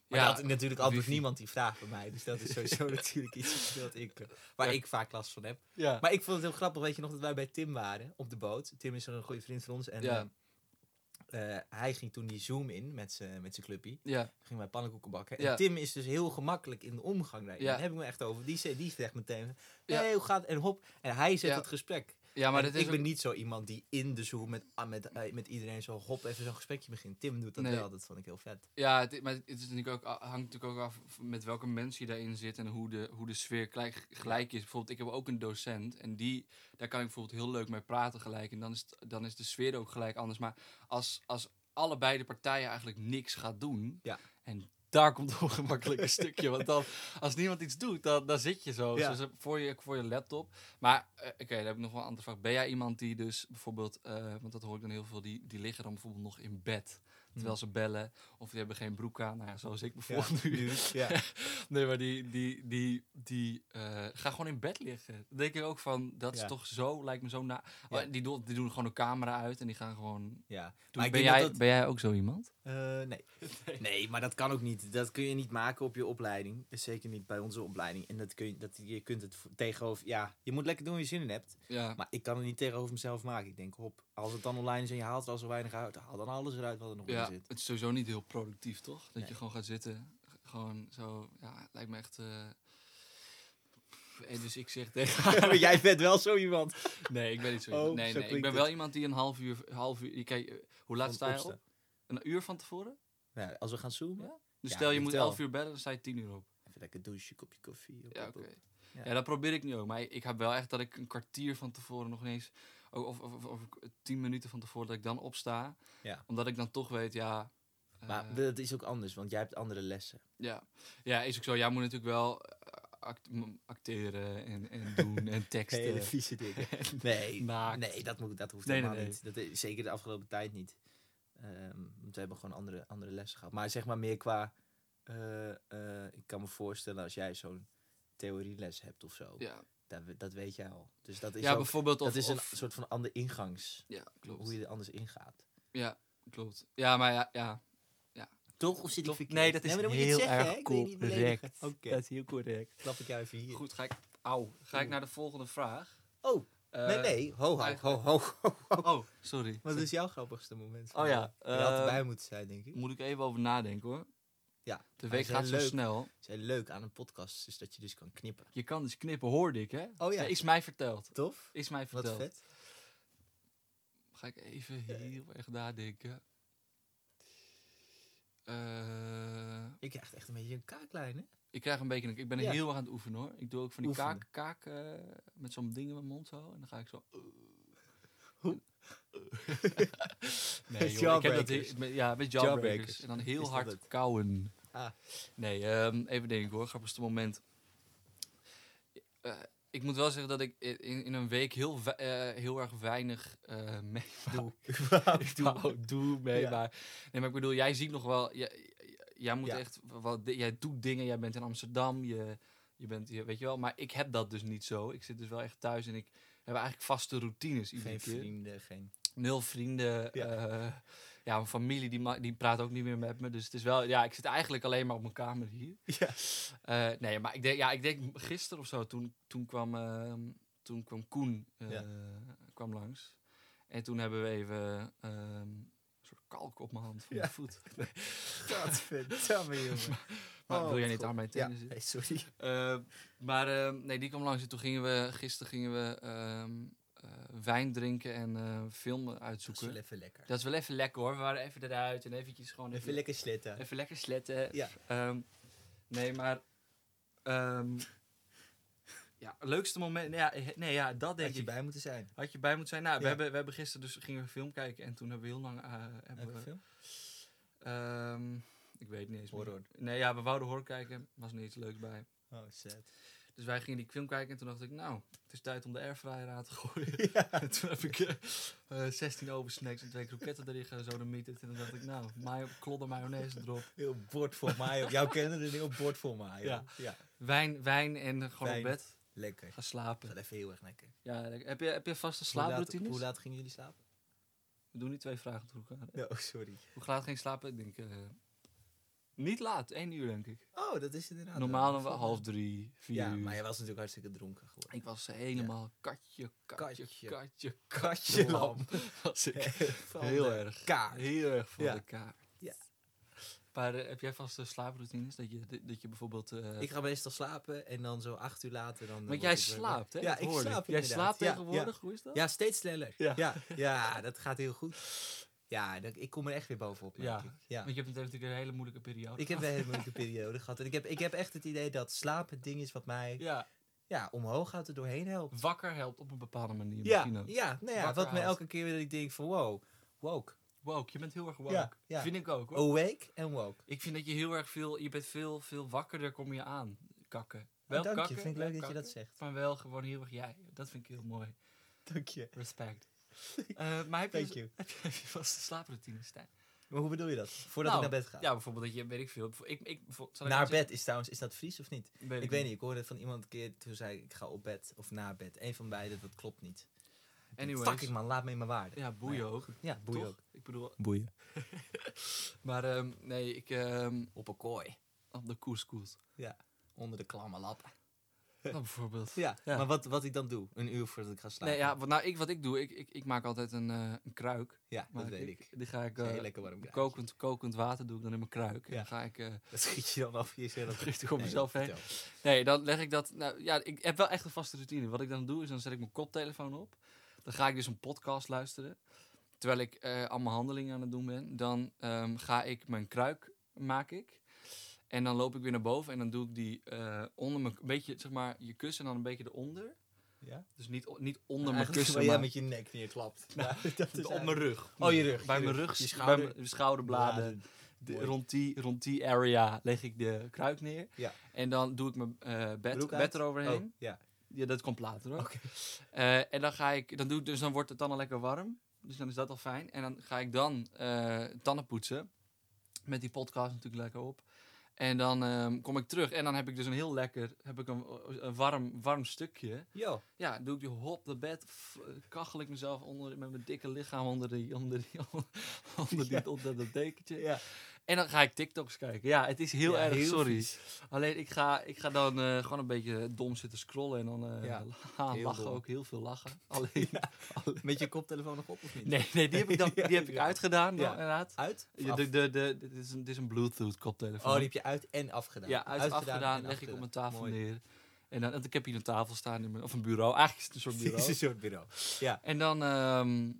[SPEAKER 2] Maar
[SPEAKER 3] Ja,
[SPEAKER 2] dat had natuurlijk altijd
[SPEAKER 3] wifi.
[SPEAKER 2] niemand die vraagt bij mij, dus dat is sowieso natuurlijk iets wat ik, eh, waar
[SPEAKER 3] Ja.
[SPEAKER 2] ik vaak last van heb.
[SPEAKER 3] Ja.
[SPEAKER 2] Maar ik vond het heel grappig, weet je nog, dat wij bij Tim waren op de boot. Tim is een goede vriend van ons en
[SPEAKER 3] Ja.
[SPEAKER 2] eh, eh, hij ging toen die Zoom in met zijn met zijn clubpie.
[SPEAKER 3] ja,
[SPEAKER 2] Toen gingen wij pannenkoeken bakken.
[SPEAKER 3] Ja.
[SPEAKER 2] En Tim is dus heel gemakkelijk in de omgang daarin.
[SPEAKER 3] Ja.
[SPEAKER 2] Daar heb ik me echt over. Die, zei- die zegt meteen,
[SPEAKER 3] Ja.
[SPEAKER 2] hey, hoe gaat het? En hop, en hij zet
[SPEAKER 3] Ja.
[SPEAKER 2] het gesprek.
[SPEAKER 3] ja, maar
[SPEAKER 2] En
[SPEAKER 3] dat is
[SPEAKER 2] ik ben
[SPEAKER 3] ook-
[SPEAKER 2] niet zo iemand die in de Zoom met, ah, met, eh, met iedereen zo hop even zo'n gesprekje begint. Tim doet dat
[SPEAKER 3] Nee.
[SPEAKER 2] wel, dat vond ik heel vet.
[SPEAKER 3] Ja, het, i- maar het is natuurlijk ook, a- hangt natuurlijk ook af v- met welke mens je daarin zit en hoe de, hoe de sfeer gelijk, gelijk is. Bijvoorbeeld, ik heb ook een docent en die, daar kan ik bijvoorbeeld heel leuk mee praten gelijk. En dan is, het- dan is de sfeer ook gelijk anders. Maar als, als allebei de partijen eigenlijk niks gaat doen
[SPEAKER 2] Ja.
[SPEAKER 3] en daar komt het ongemakkelijke stukje. Want dan, als niemand iets doet, dan, dan zit je zo,
[SPEAKER 2] Ja.
[SPEAKER 3] zo- zo voor, je, voor je laptop. Maar, eh, oké, daar heb ik nog wel een andere vraag. Ben jij iemand die dus bijvoorbeeld, eh, want dat hoor ik dan heel veel, die, die liggen dan bijvoorbeeld nog in bed.
[SPEAKER 2] Hm.
[SPEAKER 3] Terwijl ze bellen, of die hebben geen broek aan. Nou ja, zoals ik bijvoorbeeld nu.
[SPEAKER 2] Ja.
[SPEAKER 3] Nee, maar die, die, die, die eh, gaan gewoon in bed liggen. Dan denk ik ook van, dat is
[SPEAKER 2] Ja.
[SPEAKER 3] toch zo, lijkt me zo na.
[SPEAKER 2] Ja.
[SPEAKER 3] Oh, die, doen, die doen gewoon de camera uit en die gaan gewoon...
[SPEAKER 2] ja.
[SPEAKER 3] Doe-
[SPEAKER 2] ik
[SPEAKER 3] ben,
[SPEAKER 2] denk dat
[SPEAKER 3] jij,
[SPEAKER 2] dat-
[SPEAKER 3] ben jij ook zo iemand?
[SPEAKER 2] Eh, nee. nee, maar dat kan ook niet. Dat kun je niet maken op je opleiding. Dus Zeker niet bij onze opleiding. En dat kun je, dat, je kunt het voor- tegenover... Ja, je moet lekker doen wat je zin in hebt.
[SPEAKER 3] Ja.
[SPEAKER 2] Maar ik kan het niet tegenover mezelf maken. Ik denk, hop, als het dan online is en je haalt er al zo weinig uit... haal dan alles eruit wat er nog
[SPEAKER 3] Ja,
[SPEAKER 2] in zit.
[SPEAKER 3] het is sowieso niet heel productief, toch? Dat je
[SPEAKER 2] Nee.
[SPEAKER 3] gewoon gaat zitten, g- gewoon zo, ja, het lijkt me echt... eh, pff, eh, dus ik zeg tegen
[SPEAKER 2] maar jij bent wel zo iemand.
[SPEAKER 3] Nee, ik ben niet zo
[SPEAKER 2] Oh,
[SPEAKER 3] iemand. nee,
[SPEAKER 2] zo
[SPEAKER 3] nee, ik
[SPEAKER 2] klinkt
[SPEAKER 3] ben
[SPEAKER 2] het.
[SPEAKER 3] wel iemand die een half uur, half uur, kijk, eh, hoe laat
[SPEAKER 2] Van
[SPEAKER 3] sta je
[SPEAKER 2] opstaan.
[SPEAKER 3] op? Een uur van tevoren?
[SPEAKER 2] Ja, als we gaan zoomen,
[SPEAKER 3] Dus
[SPEAKER 2] Ja,
[SPEAKER 3] stel je
[SPEAKER 2] ligt
[SPEAKER 3] moet
[SPEAKER 2] wel.
[SPEAKER 3] 11 uur bedden, dan sta je 10 uur op.
[SPEAKER 2] even lekker douchen, kopje koffie. hop,
[SPEAKER 3] Ja,
[SPEAKER 2] hop,
[SPEAKER 3] oké.
[SPEAKER 2] hop.
[SPEAKER 3] Ja.
[SPEAKER 2] Ja.
[SPEAKER 3] dat probeer ik nu ook. Maar ik, ik heb wel echt dat ik een kwartier van tevoren nog ineens... Of, of, of, of tien minuten van tevoren dat ik dan opsta.
[SPEAKER 2] Ja.
[SPEAKER 3] Omdat ik dan toch weet, ja... eh,
[SPEAKER 2] Maar dat is ook anders, want jij hebt andere lessen.
[SPEAKER 3] ja. ja, is ook zo. Jij moet natuurlijk wel eh, act- m- acteren en, en doen en teksten.
[SPEAKER 2] Hele vieze dingen. Nee,
[SPEAKER 3] Naakt.
[SPEAKER 2] nee dat, moet, dat hoeft
[SPEAKER 3] Nee, nee,
[SPEAKER 2] helemaal
[SPEAKER 3] nee.
[SPEAKER 2] niet. Dat is, zeker de afgelopen tijd niet. Ehm, want we hebben gewoon andere, andere lessen gehad. Maar zeg maar meer qua... eh, eh, ik kan me voorstellen als jij zo'n theorieles hebt of zo.
[SPEAKER 3] Ja,
[SPEAKER 2] Dat, we- dat weet jij al. Dus dat is,
[SPEAKER 3] ja
[SPEAKER 2] ook-
[SPEAKER 3] bijvoorbeeld... Of,
[SPEAKER 2] dat is een
[SPEAKER 3] of-
[SPEAKER 2] soort van ander ingangs.
[SPEAKER 3] ja, klopt.
[SPEAKER 2] Hoe je er anders ingaat.
[SPEAKER 3] Ja, klopt. Ja, maar ja... ja.
[SPEAKER 1] Toch? Of zit ik
[SPEAKER 3] Toch?
[SPEAKER 1] verkeerd?
[SPEAKER 3] Nee, dat is
[SPEAKER 2] Nee, maar dan moet je
[SPEAKER 3] heel
[SPEAKER 2] het zeggen,
[SPEAKER 3] erg
[SPEAKER 2] hè? Ik wil je niet beledigen.
[SPEAKER 3] correct.
[SPEAKER 2] Oké.
[SPEAKER 3] Dat is heel correct.
[SPEAKER 2] Klap ik jou even hier.
[SPEAKER 3] Goed, ga ik, au, ga ik naar de volgende vraag.
[SPEAKER 2] Oh,
[SPEAKER 3] Eh,
[SPEAKER 2] nee, nee. Ho, ho, ho,
[SPEAKER 3] eigenlijk-
[SPEAKER 2] ho, ho, ho.
[SPEAKER 3] Oh, sorry.
[SPEAKER 2] Wat is jouw grappigste moment?
[SPEAKER 3] Oh ja,
[SPEAKER 2] Je had
[SPEAKER 3] eh,
[SPEAKER 2] erbij moeten zijn, denk ik.
[SPEAKER 3] Moet ik even over nadenken hoor.
[SPEAKER 2] Ja,
[SPEAKER 3] De
[SPEAKER 2] hij
[SPEAKER 3] week
[SPEAKER 2] is
[SPEAKER 3] gaat
[SPEAKER 2] heel
[SPEAKER 3] zo
[SPEAKER 2] leuk.
[SPEAKER 3] snel.
[SPEAKER 2] Zijn leuk aan een podcast is dat je dus kan knippen.
[SPEAKER 3] Je kan dus knippen, hoorde ik hè?
[SPEAKER 2] Oh ja.
[SPEAKER 3] Is mij verteld.
[SPEAKER 2] Tof.
[SPEAKER 3] Is mij
[SPEAKER 2] Wat
[SPEAKER 3] verteld.
[SPEAKER 2] vet.
[SPEAKER 3] Ga ik even heel erg nadenken. Eh,
[SPEAKER 2] Je krijgt echt een beetje een kaaklijn, hè?
[SPEAKER 3] ik krijg een beetje... een- Ik ben
[SPEAKER 2] Ja.
[SPEAKER 3] heel erg aan het oefenen hoor. Ik doe ook van die
[SPEAKER 2] Oefenen.
[SPEAKER 3] kaak, kaak eh, met zo'n ding in mijn mond zo. En dan ga ik zo... eh.
[SPEAKER 2] Hoe?
[SPEAKER 3] nee joh, ik heb dat...
[SPEAKER 2] Jawbreakers.
[SPEAKER 3] he- met- Ja, met jawbreakers.
[SPEAKER 2] Jawbreakers.
[SPEAKER 3] En dan
[SPEAKER 2] Is
[SPEAKER 3] heel
[SPEAKER 2] dat
[SPEAKER 3] hard
[SPEAKER 2] het?
[SPEAKER 3] kauwen.
[SPEAKER 2] Ah.
[SPEAKER 3] Nee, ehm, even denken hoor. Grappigste moment. Eh, ik moet wel zeggen dat ik i- in, in een week heel, we- eh, heel erg weinig eh mee
[SPEAKER 2] Doe.
[SPEAKER 3] ik wou, doe mee,
[SPEAKER 2] Ja.
[SPEAKER 3] maar... Nee, maar ik bedoel, jij ziet nog wel... Jij, jij moet
[SPEAKER 2] Ja.
[SPEAKER 3] echt... Wat, jij doet dingen, jij bent in Amsterdam, je, je bent... Je, weet je wel, maar ik heb dat dus niet zo. Ik zit dus wel echt thuis en ik heb eigenlijk vaste routines iedere
[SPEAKER 2] geen
[SPEAKER 3] keer.
[SPEAKER 2] vrienden, geen...
[SPEAKER 3] Nul vrienden.
[SPEAKER 2] Ja.
[SPEAKER 3] Ja, ja mijn familie die, ma- die praat ook niet meer met me. Dus het is wel... Ja, ik zit eigenlijk alleen maar op mijn kamer hier.
[SPEAKER 2] Ja.
[SPEAKER 3] Eh, nee, maar ik denk, ja, ik denk gisteren of zo, toen, toen, kwam, ehm, toen kwam Koen eh,
[SPEAKER 2] Ja.
[SPEAKER 3] kwam langs. En toen hebben we even ehm, een soort kalk op mijn hand van
[SPEAKER 2] Ja.
[SPEAKER 3] mijn voet.
[SPEAKER 2] Dat vet. jongen.
[SPEAKER 3] Maar
[SPEAKER 2] Oh,
[SPEAKER 3] wil jij
[SPEAKER 2] wat
[SPEAKER 3] niet
[SPEAKER 2] goed.
[SPEAKER 3] aan mijn
[SPEAKER 2] Ja,
[SPEAKER 3] tenen zitten?
[SPEAKER 2] hey, sorry.
[SPEAKER 3] Eh, maar ehm, nee, die kwam langs en toen gingen we, gisteren gingen we ehm, eh, wijn drinken en eh filmen
[SPEAKER 2] Dat is wel
[SPEAKER 3] uitzoeken.
[SPEAKER 2] even lekker.
[SPEAKER 3] Dat is wel even lekker hoor. We waren even eruit en eventjes gewoon
[SPEAKER 2] Even lekker slitten.
[SPEAKER 3] Even lekker sletten.
[SPEAKER 2] Ja.
[SPEAKER 3] Ehm, nee, maar... ehm, ja, leukste moment... Nee, ja, eh, nee, ja dat denk
[SPEAKER 2] Had je
[SPEAKER 3] ik.
[SPEAKER 2] bij moeten zijn.
[SPEAKER 3] Had je bij moeten zijn. Nou, we,
[SPEAKER 2] Ja.
[SPEAKER 3] hebben, we hebben gisteren dus gingen we film kijken. En toen hebben we heel lang... eh, hebben
[SPEAKER 2] Welke
[SPEAKER 3] we,
[SPEAKER 2] film?
[SPEAKER 3] ehm, ik weet niet eens meer.
[SPEAKER 2] Horror.
[SPEAKER 3] Nee, ja, we wouden horror kijken. Was niet iets leuks bij.
[SPEAKER 2] Oh, sad.
[SPEAKER 3] Dus wij gingen die film kijken. En toen dacht ik, nou, het is tijd om de airfryer aan te gooien.
[SPEAKER 2] Ja.
[SPEAKER 3] En toen heb ik eh, eh, 16 ovensnacks en twee kroketten erin gezodemieterd. En toen dacht ik, nou, mayo, klodder mayonaise erop.
[SPEAKER 2] Heel bord voor mij. Jouw kennen een heel bord voor mij.
[SPEAKER 3] Ja.
[SPEAKER 2] ja.
[SPEAKER 3] Wijn, wijn en gewoon
[SPEAKER 2] Wijn.
[SPEAKER 3] op bed
[SPEAKER 2] Lekker.
[SPEAKER 3] gaan
[SPEAKER 2] Dat
[SPEAKER 3] slapen.
[SPEAKER 2] is even heel erg lekker. Hoe
[SPEAKER 3] Ja, lekker. heb je, heb je vaste
[SPEAKER 2] laat-
[SPEAKER 3] slaaproutines?
[SPEAKER 2] Hoe laat gingen jullie slapen?
[SPEAKER 3] We doen die twee vragen door elkaar.
[SPEAKER 2] Oh, sorry.
[SPEAKER 3] Hoe laat ging je slapen? Ik denk, eh, niet laat. één uur denk ik.
[SPEAKER 2] Oh, dat is inderdaad.
[SPEAKER 3] Normaal dan
[SPEAKER 2] wel
[SPEAKER 3] wel half drie, vier
[SPEAKER 2] Ja,
[SPEAKER 3] uur.
[SPEAKER 2] maar jij was natuurlijk hartstikke dronken geworden.
[SPEAKER 3] Ik was helemaal katje, katje,
[SPEAKER 2] Katje.
[SPEAKER 3] katje,
[SPEAKER 2] Katje
[SPEAKER 3] katje lam. Was ik heel erg.
[SPEAKER 2] Kaart.
[SPEAKER 3] Heel erg voor
[SPEAKER 2] Ja.
[SPEAKER 3] de kaart.
[SPEAKER 2] Ja.
[SPEAKER 3] Maar eh, heb jij vaste slaaproutines? Dat je, dat je bijvoorbeeld... eh,
[SPEAKER 2] Ik ga meestal slapen en dan zo acht uur later dan... eh,
[SPEAKER 3] want
[SPEAKER 2] word
[SPEAKER 3] jij
[SPEAKER 2] ik wakker.
[SPEAKER 3] slaapt, hè?
[SPEAKER 2] Ja,
[SPEAKER 3] Dat
[SPEAKER 2] ik
[SPEAKER 3] hoorde
[SPEAKER 2] slaap
[SPEAKER 3] Jij
[SPEAKER 2] inderdaad.
[SPEAKER 3] slaapt
[SPEAKER 2] Ja, ja.
[SPEAKER 3] tegenwoordig, hoe is dat?
[SPEAKER 2] Ja, steeds sneller.
[SPEAKER 3] Ja.
[SPEAKER 2] Ja. Ja, ja, dat gaat heel goed. Ja, dat, ik kom er echt weer bovenop, merk
[SPEAKER 3] Ja.
[SPEAKER 2] ik. Ja.
[SPEAKER 3] Want je hebt natuurlijk een hele moeilijke periode.
[SPEAKER 2] Ik heb een hele moeilijke periode gehad. En ik heb, ik heb echt het idee dat slapen het ding is wat mij
[SPEAKER 3] Ja,
[SPEAKER 2] ja, omhoog gaat, er doorheen helpt.
[SPEAKER 3] wakker helpt op een bepaalde manier
[SPEAKER 2] Ja,
[SPEAKER 3] misschien ook.
[SPEAKER 2] ja, nou ja
[SPEAKER 3] Wakker
[SPEAKER 2] wat me
[SPEAKER 3] haast.
[SPEAKER 2] elke keer weer dat ik denk van wow, woke.
[SPEAKER 3] woke. Je bent heel erg woke.
[SPEAKER 2] Ja, ja. Oh.
[SPEAKER 3] Vind ik ook hoor.
[SPEAKER 2] Awake en woke.
[SPEAKER 3] Ik vind dat je heel erg veel, je bent veel, veel wakkerder kom je aan. Kakken. Wel
[SPEAKER 2] Oh, dank
[SPEAKER 3] kakken,
[SPEAKER 2] je, vind ik
[SPEAKER 3] wel
[SPEAKER 2] leuk dat je dat
[SPEAKER 3] kakken,
[SPEAKER 2] zegt.
[SPEAKER 3] Maar wel gewoon heel erg jij. Dat vind ik heel mooi.
[SPEAKER 2] Dank je.
[SPEAKER 3] Respect. Eh, maar heb je,
[SPEAKER 2] Thank
[SPEAKER 3] dus-
[SPEAKER 2] you.
[SPEAKER 3] heb je, heb je vaste slaaproutine, Stijn?
[SPEAKER 2] Maar hoe bedoel je dat? Voordat
[SPEAKER 3] Nou,
[SPEAKER 2] ik naar bed ga.
[SPEAKER 3] Ja, bijvoorbeeld dat je, weet ik veel. Ik, ik, zal ik
[SPEAKER 2] naar
[SPEAKER 3] iets-
[SPEAKER 2] bed is trouwens, is dat Fries of niet?
[SPEAKER 3] Weet
[SPEAKER 2] Ik weet niet, ik hoorde van iemand een keer, toen zei ik, ik ga op bed of naar bed. Eén van beide, dat klopt niet.
[SPEAKER 3] Anyways.
[SPEAKER 2] Fucking man, laat me in mijn waarde.
[SPEAKER 3] Ja, boeien
[SPEAKER 2] Maar
[SPEAKER 3] ook.
[SPEAKER 2] Ja, boeien
[SPEAKER 3] toch?
[SPEAKER 2] ook.
[SPEAKER 3] Ik bedoel,
[SPEAKER 2] Boeien.
[SPEAKER 3] maar ehm, nee, ik... ehm,
[SPEAKER 2] Op een kooi.
[SPEAKER 3] op de couscous.
[SPEAKER 2] Onder de klamme lappen.
[SPEAKER 3] Nou, bijvoorbeeld.
[SPEAKER 2] Ja,
[SPEAKER 3] Ja.
[SPEAKER 2] maar wat, wat ik dan doe, een uur voordat ik ga slapen.
[SPEAKER 3] Nee, ja, wat, nou, ik, wat ik doe, ik, ik, ik maak altijd een, eh, een kruik.
[SPEAKER 2] Ja,
[SPEAKER 3] Maak
[SPEAKER 2] dat weet ik.
[SPEAKER 3] Die ga ik...
[SPEAKER 2] Dat is een
[SPEAKER 3] eh,
[SPEAKER 2] heel lekker warm kruisje.
[SPEAKER 3] kokend, kokend water doe ik dan in mijn kruik. En
[SPEAKER 2] Ja.
[SPEAKER 3] dan ga ik... eh,
[SPEAKER 2] Dat schiet je dan af. Je zegt dat
[SPEAKER 3] Richt ik op
[SPEAKER 2] Nee,
[SPEAKER 3] mezelf heen.
[SPEAKER 2] vertel.
[SPEAKER 3] Nee, dan leg ik dat. Nou ja, ik heb wel echt een vaste routine. Wat ik dan doe, is dan zet ik mijn koptelefoon op. Dan ga ik dus een podcast luisteren. Terwijl ik eh al mijn handelingen aan het doen ben. Dan ehm, ga ik mijn kruik maak ik. En dan loop ik weer naar boven. En dan doe ik die eh, onder mijn. Een beetje, zeg maar, je kussen en dan een beetje eronder.
[SPEAKER 2] Ja?
[SPEAKER 3] Dus niet, o- niet onder mijn
[SPEAKER 2] Eigenlijk
[SPEAKER 3] kussen.
[SPEAKER 2] waar jij
[SPEAKER 3] Maar
[SPEAKER 2] met je nek neerklapt. Nou, dat is
[SPEAKER 3] op mijn rug.
[SPEAKER 2] Oh, je rug,
[SPEAKER 3] Bij
[SPEAKER 2] je
[SPEAKER 3] mijn
[SPEAKER 2] rug.
[SPEAKER 3] rug,
[SPEAKER 2] Je
[SPEAKER 3] bij
[SPEAKER 2] schouder-
[SPEAKER 3] mijn schouderbladen.
[SPEAKER 2] bladen.
[SPEAKER 3] De-
[SPEAKER 2] Mooi.
[SPEAKER 3] rond, die, rond die area leg ik de kruik neer.
[SPEAKER 2] Ja.
[SPEAKER 3] En dan doe ik mijn eh, bed,
[SPEAKER 2] Broek uit?
[SPEAKER 3] bed eroverheen.
[SPEAKER 2] Oh, ja.
[SPEAKER 3] Ja, dat komt later hoor.
[SPEAKER 2] Oké.
[SPEAKER 3] Eh, en dan ga ik, dan doe ik, dus dan wordt het dan al lekker warm. Dus dan is dat al fijn. En dan ga ik dan eh, tanden poetsen. Met die podcast natuurlijk lekker op. En dan ehm, kom ik terug en dan heb ik dus een heel lekker, heb ik een, een warm, warm stukje.
[SPEAKER 2] Yo.
[SPEAKER 3] Ja, doe ik die hop de bed, f- kachel ik mezelf onder, met mijn dikke lichaam onder, die, onder, die, onder, die, onder dat dekentje.
[SPEAKER 2] Ja.
[SPEAKER 3] En dan ga ik TikToks kijken. Ja, het is heel
[SPEAKER 2] Ja,
[SPEAKER 3] erg
[SPEAKER 2] heel
[SPEAKER 3] sorry.
[SPEAKER 2] vies.
[SPEAKER 3] Alleen ik ga, ik ga dan eh, gewoon een beetje dom zitten scrollen en dan eh,
[SPEAKER 2] Ja, heel
[SPEAKER 3] lachen
[SPEAKER 2] dom.
[SPEAKER 3] ook heel veel lachen. Alleen,
[SPEAKER 2] Met je koptelefoon nog op of niet?
[SPEAKER 3] nee, nee, die heb ik dan die heb ik
[SPEAKER 2] Ja.
[SPEAKER 3] uitgedaan dan,
[SPEAKER 2] Ja.
[SPEAKER 3] inderdaad.
[SPEAKER 2] Uit? Of
[SPEAKER 3] Ja,
[SPEAKER 2] af?
[SPEAKER 3] de, de, de, dit is een, dit is een Bluetooth
[SPEAKER 2] Oh,
[SPEAKER 3] koptelefoon.
[SPEAKER 2] die heb je uit en afgedaan.
[SPEAKER 3] ja, uit,
[SPEAKER 2] Uitgedaan
[SPEAKER 3] afgedaan
[SPEAKER 2] en
[SPEAKER 3] leg ik op mijn
[SPEAKER 2] afgedaan.
[SPEAKER 3] tafel
[SPEAKER 2] Mooi.
[SPEAKER 3] neer. En dan, want ik heb hier een tafel staan in mijn, of een bureau. Eigenlijk is het een soort
[SPEAKER 2] Het is een soort
[SPEAKER 3] bureau.
[SPEAKER 2] bureau. Ja.
[SPEAKER 3] En dan, ehm,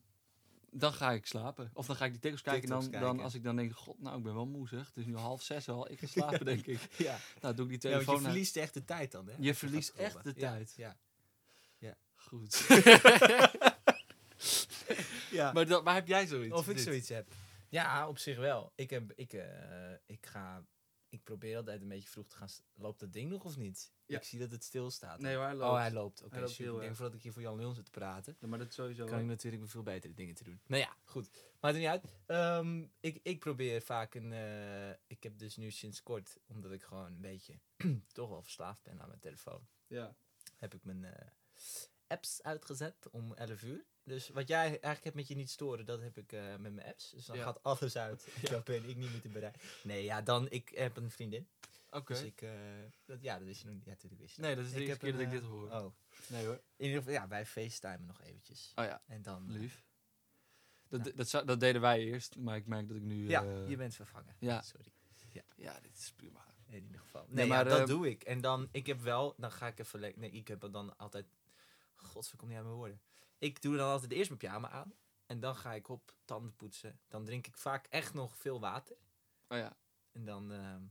[SPEAKER 3] dan ga ik slapen. Of dan ga ik die TikToks kijken. En dan,
[SPEAKER 2] TikToks kijken.
[SPEAKER 3] dan als ik dan denk, god, nou, ik ben wel moe zeg. Het is nu half zes al. Ik ga slapen, denk ik.
[SPEAKER 2] Ja.
[SPEAKER 3] Nou, doe ik die
[SPEAKER 2] Ja, want
[SPEAKER 3] telefoon
[SPEAKER 2] je
[SPEAKER 3] uit.
[SPEAKER 2] verliest echt de tijd dan, hè? als
[SPEAKER 3] Je
[SPEAKER 2] gaat
[SPEAKER 3] verliest echt
[SPEAKER 2] scrollen.
[SPEAKER 3] de
[SPEAKER 2] Ja,
[SPEAKER 3] tijd.
[SPEAKER 2] Ja.
[SPEAKER 3] Goed.
[SPEAKER 2] ja.
[SPEAKER 3] maar, dan, maar heb jij zoiets?
[SPEAKER 2] Of ik
[SPEAKER 3] niet?
[SPEAKER 2] zoiets heb. Ja, op zich wel. Ik, heb, ik, eh, ik, ga, ik probeer altijd een beetje vroeg te gaan. s- Loopt dat ding nog of niet?
[SPEAKER 3] Ja.
[SPEAKER 2] Ik zie dat het stilstaat.
[SPEAKER 3] Nee, waar
[SPEAKER 2] Oh, hij loopt. Oké,
[SPEAKER 3] Hij loopt
[SPEAKER 2] super.
[SPEAKER 3] heel
[SPEAKER 2] Ik denk
[SPEAKER 3] erg.
[SPEAKER 2] voordat ik hier voor Jan Leon zit te praten,
[SPEAKER 3] maar dat sowieso.
[SPEAKER 2] kan ik natuurlijk veel betere dingen te doen. Nou ja, goed. Maar het niet uit. Ehm, ik, ik probeer vaak een... eh, ik heb dus nu sinds kort, omdat ik gewoon een beetje toch wel verslaafd ben aan mijn telefoon
[SPEAKER 3] Ja.
[SPEAKER 2] heb ik mijn eh, apps uitgezet om 11 uur. Dus wat jij eigenlijk hebt met je niet storen, dat heb ik eh, met mijn apps. Dus dan
[SPEAKER 3] Ja.
[SPEAKER 2] gaat alles uit. Dan ben ik niet meer te bereiken. Nee, ja, dan ik heb een vriendin.
[SPEAKER 3] Oké.
[SPEAKER 2] Dus ik, eh, dat, ja, dat wist je nog niet. Ja, natuurlijk wist je
[SPEAKER 3] Nee, dat is de
[SPEAKER 2] Ik
[SPEAKER 3] eerste keer
[SPEAKER 2] heb
[SPEAKER 3] dat
[SPEAKER 2] een,
[SPEAKER 3] ik dit
[SPEAKER 2] eh,
[SPEAKER 3] hoor.
[SPEAKER 2] Oh,
[SPEAKER 3] Nee hoor.
[SPEAKER 2] in ieder geval, ja, wij facetimen nog eventjes.
[SPEAKER 3] Oh ja,
[SPEAKER 2] En dan... eh,
[SPEAKER 3] lief. Dat, dat, zou- dat deden wij eerst, maar ik merk dat ik nu...
[SPEAKER 2] ja,
[SPEAKER 3] eh,
[SPEAKER 2] je bent vervangen.
[SPEAKER 3] ja.
[SPEAKER 2] Sorry.
[SPEAKER 3] ja dit is prima.
[SPEAKER 2] In ieder geval. Nee,
[SPEAKER 3] Nee, maar,
[SPEAKER 2] ja, dat
[SPEAKER 3] eh,
[SPEAKER 2] doe ik. En dan, ik heb wel, dan ga ik even lekker. Nee, ik heb dan altijd. God, ik kom niet uit mijn woorden. Ik doe dan altijd eerst mijn pyjama aan. En dan ga ik op tanden poetsen. Dan drink ik vaak echt nog veel water.
[SPEAKER 3] Oh ja,
[SPEAKER 2] En dan ehm,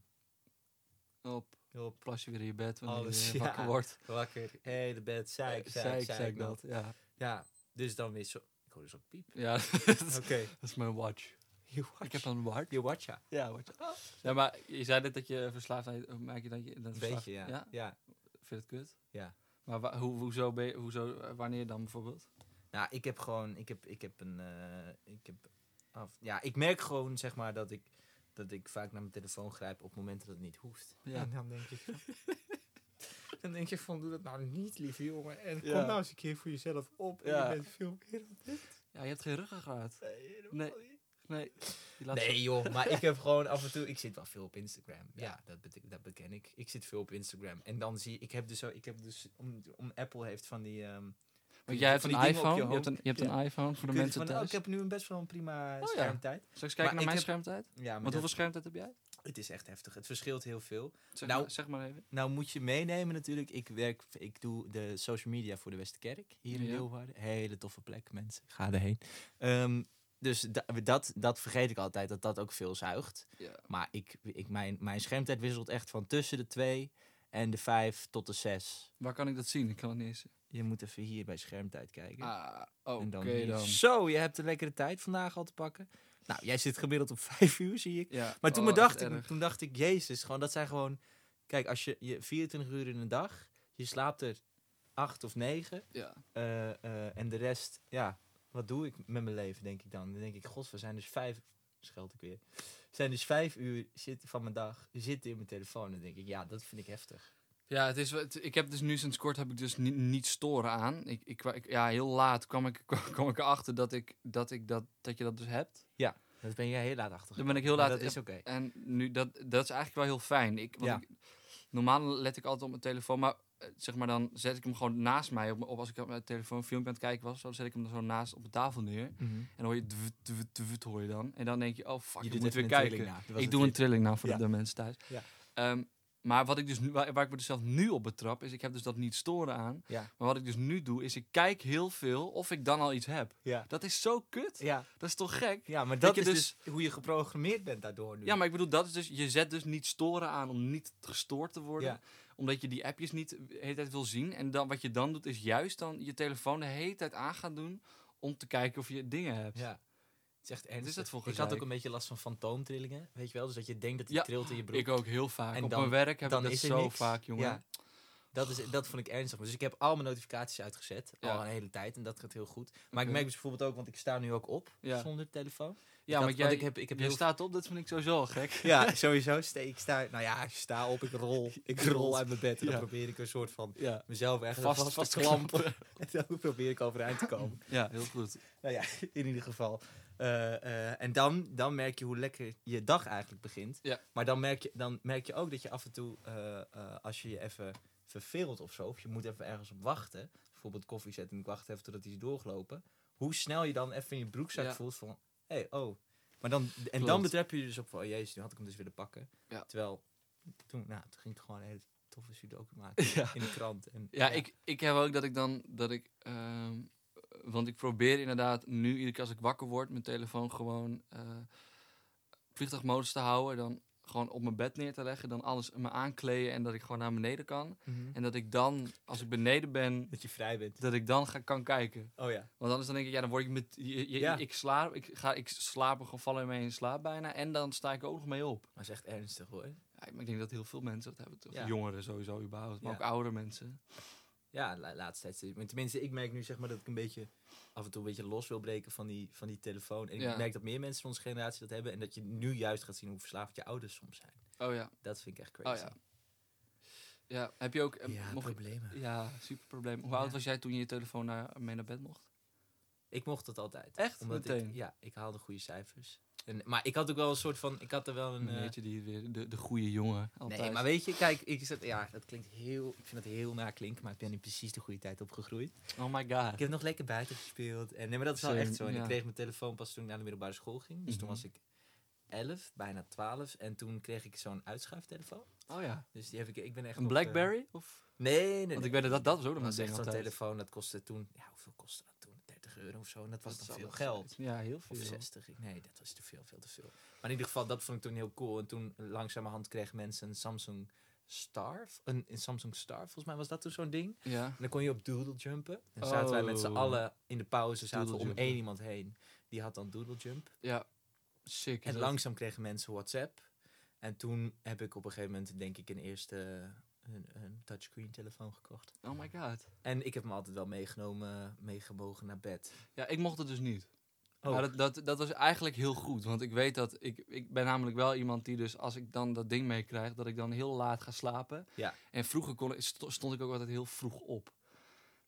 [SPEAKER 3] op,
[SPEAKER 2] hulp,
[SPEAKER 3] plas je weer in je bed wanneer
[SPEAKER 2] Alles,
[SPEAKER 3] je
[SPEAKER 2] ja.
[SPEAKER 3] wakker wordt.
[SPEAKER 2] wakker, hele bed, zeik,
[SPEAKER 3] Eh,
[SPEAKER 2] zeik,
[SPEAKER 3] zeik, zeik dat. Ja,
[SPEAKER 2] Ja, dus dan weer zo. Ik hoor dus op piep.
[SPEAKER 3] ja dat, is,
[SPEAKER 2] Oké.
[SPEAKER 3] dat is mijn watch.
[SPEAKER 2] Je watch.
[SPEAKER 3] Ik heb een watch.
[SPEAKER 2] Je watch, ja.
[SPEAKER 3] Ja, watch. Ja, maar je zei net dat je verslaafd bent. Merk je dat je... Dat
[SPEAKER 2] Een
[SPEAKER 3] verslaafd-
[SPEAKER 2] beetje, ja.
[SPEAKER 3] ja.
[SPEAKER 2] ja.
[SPEAKER 3] Vind je het kut?
[SPEAKER 2] Ja.
[SPEAKER 3] Maar wa- hoe, hoezo, ben je- hoezo, eh, wanneer dan bijvoorbeeld?
[SPEAKER 2] Nou, ik heb gewoon, ik heb, ik heb een, eh, ik heb, af, ja, ik merk gewoon, zeg maar, dat ik, dat ik vaak naar mijn telefoon grijp op momenten dat het niet hoeft.
[SPEAKER 3] Ja.
[SPEAKER 2] En dan denk ik van, dan denk je van, doe dat nou niet, lieve jongen. En
[SPEAKER 3] Ja.
[SPEAKER 2] kom nou eens een keer voor jezelf op. En
[SPEAKER 3] Ja.
[SPEAKER 2] je bent veel meer aan dit.
[SPEAKER 3] Ja, je hebt geen ruggengraat.
[SPEAKER 2] Nee, helemaal
[SPEAKER 3] Nee.
[SPEAKER 2] niet.
[SPEAKER 3] Nee. Die laat
[SPEAKER 2] Nee, joh, maar ik heb gewoon af en toe, ik zit wel veel op Instagram. Ja, dat, betek- dat beken ik. Ik zit veel op Instagram. En dan zie ik, heb dus, zo, ik heb dus, om, om Apple heeft van die, ehm,
[SPEAKER 3] Want jij hebt
[SPEAKER 2] van
[SPEAKER 3] een
[SPEAKER 2] die dingen op
[SPEAKER 3] iPhone.
[SPEAKER 2] je
[SPEAKER 3] Je, hebt een, je hebt een iPhone voor de mensen
[SPEAKER 2] van,
[SPEAKER 3] thuis.
[SPEAKER 2] oh, ik heb nu een best wel een prima
[SPEAKER 3] Oh ja.
[SPEAKER 2] schermtijd.
[SPEAKER 3] Zal ik eens kijken
[SPEAKER 2] maar
[SPEAKER 3] naar
[SPEAKER 2] ik
[SPEAKER 3] mijn
[SPEAKER 2] heb-
[SPEAKER 3] schermtijd?
[SPEAKER 2] Ja, maar
[SPEAKER 3] Want
[SPEAKER 2] dat-
[SPEAKER 3] hoeveel schermtijd heb jij?
[SPEAKER 2] Het is echt heftig. Het verschilt heel veel.
[SPEAKER 3] Zeg,
[SPEAKER 2] Nou-
[SPEAKER 3] maar, zeg maar even.
[SPEAKER 2] Nou moet je meenemen natuurlijk. Ik werk, ik doe de social media voor de Westerkerk hier in
[SPEAKER 3] Ja.
[SPEAKER 2] Leeuwarden. Hele toffe plek, mensen. Ga erheen. Ehm, dus da- dat, dat vergeet ik altijd, dat dat ook veel zuigt.
[SPEAKER 3] Ja.
[SPEAKER 2] Maar ik, ik, mijn, mijn schermtijd wisselt echt van tussen de twee en de vijf tot de zes.
[SPEAKER 3] Waar kan ik dat zien? Ik kan het niet eens.
[SPEAKER 2] Je moet even hier bij schermtijd kijken.
[SPEAKER 3] Ah, oké
[SPEAKER 2] en dan,
[SPEAKER 3] dan.
[SPEAKER 2] hier. Zo, je hebt een lekkere tijd vandaag al te pakken. Nou, jij zit gemiddeld op vijf uur, zie ik.
[SPEAKER 3] Ja.
[SPEAKER 2] Maar toen,
[SPEAKER 3] Oh,
[SPEAKER 2] me
[SPEAKER 3] echt
[SPEAKER 2] dacht ik,
[SPEAKER 3] erg.
[SPEAKER 2] toen dacht ik, jezus, gewoon, dat zijn gewoon... Kijk, als je, je 24 uur in een dag, je slaapt er acht of negen.
[SPEAKER 3] Ja.
[SPEAKER 2] eh, eh, en de rest, ja, wat doe ik met mijn leven, denk ik dan. Dan denk ik, god, we zijn dus vijf... Scheld ik weer. We zijn dus vijf uur zit, van mijn dag zitten in mijn telefoon. Dan denk ik, ja, dat vind ik heftig.
[SPEAKER 3] Ja, het is, wel- het- ik heb dus nu sinds kort heb ik dus niet, niet storen aan. Ik, ik, kwa- ik- ja, heel laat kwam ik, kwam ik erachter dat, ik, dat, ik dat, dat je dat dus hebt.
[SPEAKER 2] Dat ben jij heel laat achter.
[SPEAKER 3] Dan ben ik heel
[SPEAKER 2] Maar
[SPEAKER 3] laat.
[SPEAKER 2] Dat is oké.
[SPEAKER 3] En nu, dat, dat is eigenlijk wel heel fijn. Ik, want
[SPEAKER 2] Ja.
[SPEAKER 3] ik- normaal let ik altijd op mijn telefoon, maar eh, zeg maar dan zet ik hem gewoon naast mij op, mijn- op als ik op mijn telefoon een filmpje aan het kijken was. Dan zet ik hem dan zo naast op de tafel neer.
[SPEAKER 2] Mhm.
[SPEAKER 3] En dan hoor je dvut, dvut, dvut, hoor je dan. En dan denk je, oh fuck,
[SPEAKER 2] Je
[SPEAKER 3] je
[SPEAKER 2] doet
[SPEAKER 3] moet
[SPEAKER 2] even
[SPEAKER 3] weer
[SPEAKER 2] een
[SPEAKER 3] kijken.
[SPEAKER 2] trilling na. Dat was
[SPEAKER 3] Ik doe een trilling nou voor
[SPEAKER 2] Ja.
[SPEAKER 3] de mensen thuis.
[SPEAKER 2] Ja.
[SPEAKER 3] Ehm, maar wat ik dus nu, waar, waar ik me dus zelf nu op betrap, is ik heb dus dat niet storen aan.
[SPEAKER 2] Ja.
[SPEAKER 3] Maar wat ik dus nu doe, is ik kijk heel veel of ik dan al iets heb.
[SPEAKER 2] Ja.
[SPEAKER 3] Dat is zo kut.
[SPEAKER 2] Ja.
[SPEAKER 3] Dat is toch gek?
[SPEAKER 2] ja, maar
[SPEAKER 3] Dat
[SPEAKER 2] dat
[SPEAKER 3] je
[SPEAKER 2] is dus, hoe je geprogrammeerd bent daardoor nu.
[SPEAKER 3] Ja, maar ik bedoel, dat is dus, je zet dus niet storen aan om niet gestoord te worden.
[SPEAKER 2] Ja.
[SPEAKER 3] Omdat je die appjes niet de hele tijd wil zien. En dan, wat je dan doet, is juist dan je telefoon de hele tijd aan gaan doen om te kijken of je dingen hebt.
[SPEAKER 2] Ja. Het is echt ernstig.
[SPEAKER 3] dat voor
[SPEAKER 2] ik had
[SPEAKER 3] gezeik?
[SPEAKER 2] ook een beetje last van fantoomtrillingen, weet je wel? Dus dat je denkt dat hij
[SPEAKER 3] Ja,
[SPEAKER 2] trilt in je broek.
[SPEAKER 3] Ik ook heel vaak.
[SPEAKER 2] En
[SPEAKER 3] Op
[SPEAKER 2] dan-
[SPEAKER 3] mijn werk heb ik
[SPEAKER 2] dan
[SPEAKER 3] dat
[SPEAKER 2] is er
[SPEAKER 3] zo
[SPEAKER 2] niks.
[SPEAKER 3] vaak, jongen.
[SPEAKER 2] Ja. Dat, is, dat vond ik ernstig. Dus ik heb al mijn notificaties uitgezet,
[SPEAKER 3] Ja.
[SPEAKER 2] al een hele tijd. En dat gaat heel goed. Maar
[SPEAKER 3] Oké.
[SPEAKER 2] ik merk dus bijvoorbeeld ook, want ik sta nu ook op
[SPEAKER 3] Ja.
[SPEAKER 2] zonder telefoon.
[SPEAKER 3] Ja, maar
[SPEAKER 2] want
[SPEAKER 3] jij,
[SPEAKER 2] ik heb, ik heb
[SPEAKER 3] jij
[SPEAKER 2] heel
[SPEAKER 3] staat op, dat vind ik sowieso al gek.
[SPEAKER 2] Ja, sowieso. Ste- Ik sta, nou ja, ik sta op, ik rol. Ik rol uit mijn bed. En dan
[SPEAKER 3] Ja.
[SPEAKER 2] probeer ik een soort van
[SPEAKER 3] Ja,
[SPEAKER 2] mezelf echt
[SPEAKER 3] vast,
[SPEAKER 2] vast,
[SPEAKER 3] vast
[SPEAKER 2] te
[SPEAKER 3] klampen.
[SPEAKER 2] klampen. En dan probeer ik overeind te komen.
[SPEAKER 3] Ja, heel goed.
[SPEAKER 2] Nou ja, in ieder geval. Eh, eh, en dan, dan merk je hoe lekker je dag eigenlijk begint.
[SPEAKER 3] Ja.
[SPEAKER 2] Maar dan merk, je, dan merk je ook dat je af en toe, eh, eh, als je je even verveelt of zo, of je moet even ergens op wachten, bijvoorbeeld koffie zetten en ik wacht even totdat die is doorgelopen, hoe snel je dan even in je broekzak
[SPEAKER 3] Ja.
[SPEAKER 2] voelt van, hé, hey, oh. Maar dan, en dan
[SPEAKER 3] Klopt.
[SPEAKER 2] betrep je je dus op van, oh jezus, nu had ik hem dus willen pakken.
[SPEAKER 3] Ja.
[SPEAKER 2] Terwijl, toen, nou, toen ging ik gewoon een hele toffe sudoku maken
[SPEAKER 3] Ja.
[SPEAKER 2] in de krant. En,
[SPEAKER 3] Ja, Ik, ik heb ook dat ik dan, dat ik, ehm, want ik probeer inderdaad nu, iedere keer als ik wakker word, mijn telefoon gewoon eh, vliegtuigmodus te houden. Dan gewoon op mijn bed neer te leggen, dan alles me aankleden en dat ik gewoon naar beneden kan.
[SPEAKER 2] Mhm.
[SPEAKER 3] En dat ik dan, als ik beneden ben,
[SPEAKER 2] Dat je vrij bent.
[SPEAKER 3] dat ik dan ga, kan kijken.
[SPEAKER 2] Oh ja.
[SPEAKER 3] Want anders dan denk ik, ja, dan word ik met, je- je-
[SPEAKER 2] Ja.
[SPEAKER 3] ik slaap, ik ga, ik slaap er gewoon vallen mee in slaap bijna. En dan sta ik ook nog mee op.
[SPEAKER 2] Maar dat is echt ernstig hoor.
[SPEAKER 3] Ja, maar ik denk dat heel veel mensen dat hebben. Of
[SPEAKER 2] Ja.
[SPEAKER 3] Jongeren sowieso überhaupt, maar
[SPEAKER 2] Ja.
[SPEAKER 3] ook oudere mensen.
[SPEAKER 2] Ja, la laatste tijd. steeds- maar Tenminste, ik merk nu zeg maar dat ik een beetje af en toe een beetje los wil breken van die, van die telefoon. En
[SPEAKER 3] Ja.
[SPEAKER 2] ik merk dat meer mensen van onze generatie dat hebben. En dat je nu juist gaat zien hoe verslaafd je ouders soms zijn.
[SPEAKER 3] Oh ja.
[SPEAKER 2] Dat vind ik echt
[SPEAKER 3] Oh
[SPEAKER 2] crazy.
[SPEAKER 3] ja. Ja, heb je ook... eh,
[SPEAKER 2] Ja,
[SPEAKER 3] mocht je-
[SPEAKER 2] problemen.
[SPEAKER 3] ja, super probleem. Hoe
[SPEAKER 2] Ja.
[SPEAKER 3] oud was jij toen je je telefoon naar, mee naar bed mocht?
[SPEAKER 2] Ik mocht dat altijd.
[SPEAKER 3] Echt?
[SPEAKER 2] Omdat
[SPEAKER 3] Meteen?
[SPEAKER 2] Ik, ja, ik haalde goede cijfers. En, maar ik had ook wel een soort van... Ik had er wel een... eh,
[SPEAKER 3] Meneertje die weer de, de goede jongen altijd.
[SPEAKER 2] nee, maar weet je, kijk, ik zat, ja, dat klinkt heel, ik vind dat heel na klinken, maar ik ben in precies de goede tijd opgegroeid.
[SPEAKER 3] Oh my god.
[SPEAKER 2] Ik heb nog lekker buiten gespeeld. En, nee, maar dat is wel
[SPEAKER 3] Same,
[SPEAKER 2] echt zo. En
[SPEAKER 3] ja.
[SPEAKER 2] ik kreeg mijn telefoon pas toen ik naar de middelbare school ging. Dus toen
[SPEAKER 3] Mhm.
[SPEAKER 2] was ik 11, bijna 12. En toen kreeg ik zo'n uitschuiftelefoon.
[SPEAKER 3] Oh ja.
[SPEAKER 2] Dus die heb ik, ik ben echt.
[SPEAKER 3] Een
[SPEAKER 2] op,
[SPEAKER 3] Blackberry? Of?
[SPEAKER 2] eh, nee, nee, nee.
[SPEAKER 3] Want ik weet dat dat, dat was ook
[SPEAKER 2] Dat
[SPEAKER 3] nog een
[SPEAKER 2] was
[SPEAKER 3] ding
[SPEAKER 2] echt zo'n
[SPEAKER 3] altijd.
[SPEAKER 2] telefoon. Dat kostte toen, ja, hoeveel kostte dat toen? 30 euro of zo. En dat was
[SPEAKER 3] Dat
[SPEAKER 2] dan
[SPEAKER 3] is
[SPEAKER 2] veel
[SPEAKER 3] al-
[SPEAKER 2] geld.
[SPEAKER 3] Ja, heel
[SPEAKER 2] Of
[SPEAKER 3] veel.
[SPEAKER 2] 60. Ik- Nee, dat was te veel, veel te veel. Maar in ieder geval, dat vond ik toen heel cool. En toen langzamerhand kregen mensen een Samsung Star. Een, een Samsung Star, volgens mij was dat toen zo'n ding.
[SPEAKER 3] Ja.
[SPEAKER 2] En dan kon je op doodle jumpen. En dan zaten wij met z'n
[SPEAKER 3] Oh.
[SPEAKER 2] allen in de pauze zaten we om
[SPEAKER 3] Doodlejumpen.
[SPEAKER 2] één iemand heen. Die had dan doodle jump.
[SPEAKER 3] Ja. Sick. is
[SPEAKER 2] En
[SPEAKER 3] dat.
[SPEAKER 2] langzaam kregen mensen WhatsApp. En toen heb ik op een gegeven moment denk ik een eerste een, een touchscreen telefoon gekocht.
[SPEAKER 3] Oh my god.
[SPEAKER 2] En ik heb hem altijd wel meegenomen, meegemogen naar bed.
[SPEAKER 3] Ja, ik mocht het dus niet.
[SPEAKER 2] Oh.
[SPEAKER 3] Maar dat, dat, dat was eigenlijk heel goed. Want ik weet dat ik, ik ben namelijk wel iemand die dus als ik dan dat ding meekrijg, dat ik dan heel laat ga slapen.
[SPEAKER 2] Ja.
[SPEAKER 3] En vroeger kon, ik- sto- stond ik ook altijd heel vroeg op.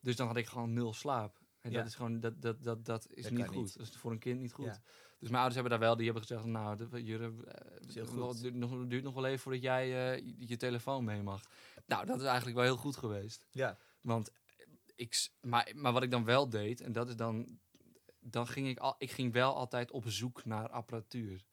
[SPEAKER 3] Dus dan had ik gewoon nul slaap. En
[SPEAKER 2] Ja.
[SPEAKER 3] dat is gewoon, dat, dat, dat, dat is
[SPEAKER 2] Dat
[SPEAKER 3] niet
[SPEAKER 2] kan
[SPEAKER 3] goed.
[SPEAKER 2] niet.
[SPEAKER 3] Dat is voor een kind niet goed.
[SPEAKER 2] Ja.
[SPEAKER 3] Dus mijn ouders hebben daar wel, die hebben gezegd, nou, de- Jurre, eh,
[SPEAKER 2] is heel
[SPEAKER 3] nog-
[SPEAKER 2] goed.
[SPEAKER 3] duurt, nog, duurt nog wel even voordat jij eh, je- je telefoon mee mag. Nou, dat is eigenlijk wel heel goed geweest.
[SPEAKER 2] Ja.
[SPEAKER 3] Want ik, s- maar, maar wat ik dan wel deed, en dat is dan, dan ging ik al, ik ging wel altijd op zoek naar apparatuur.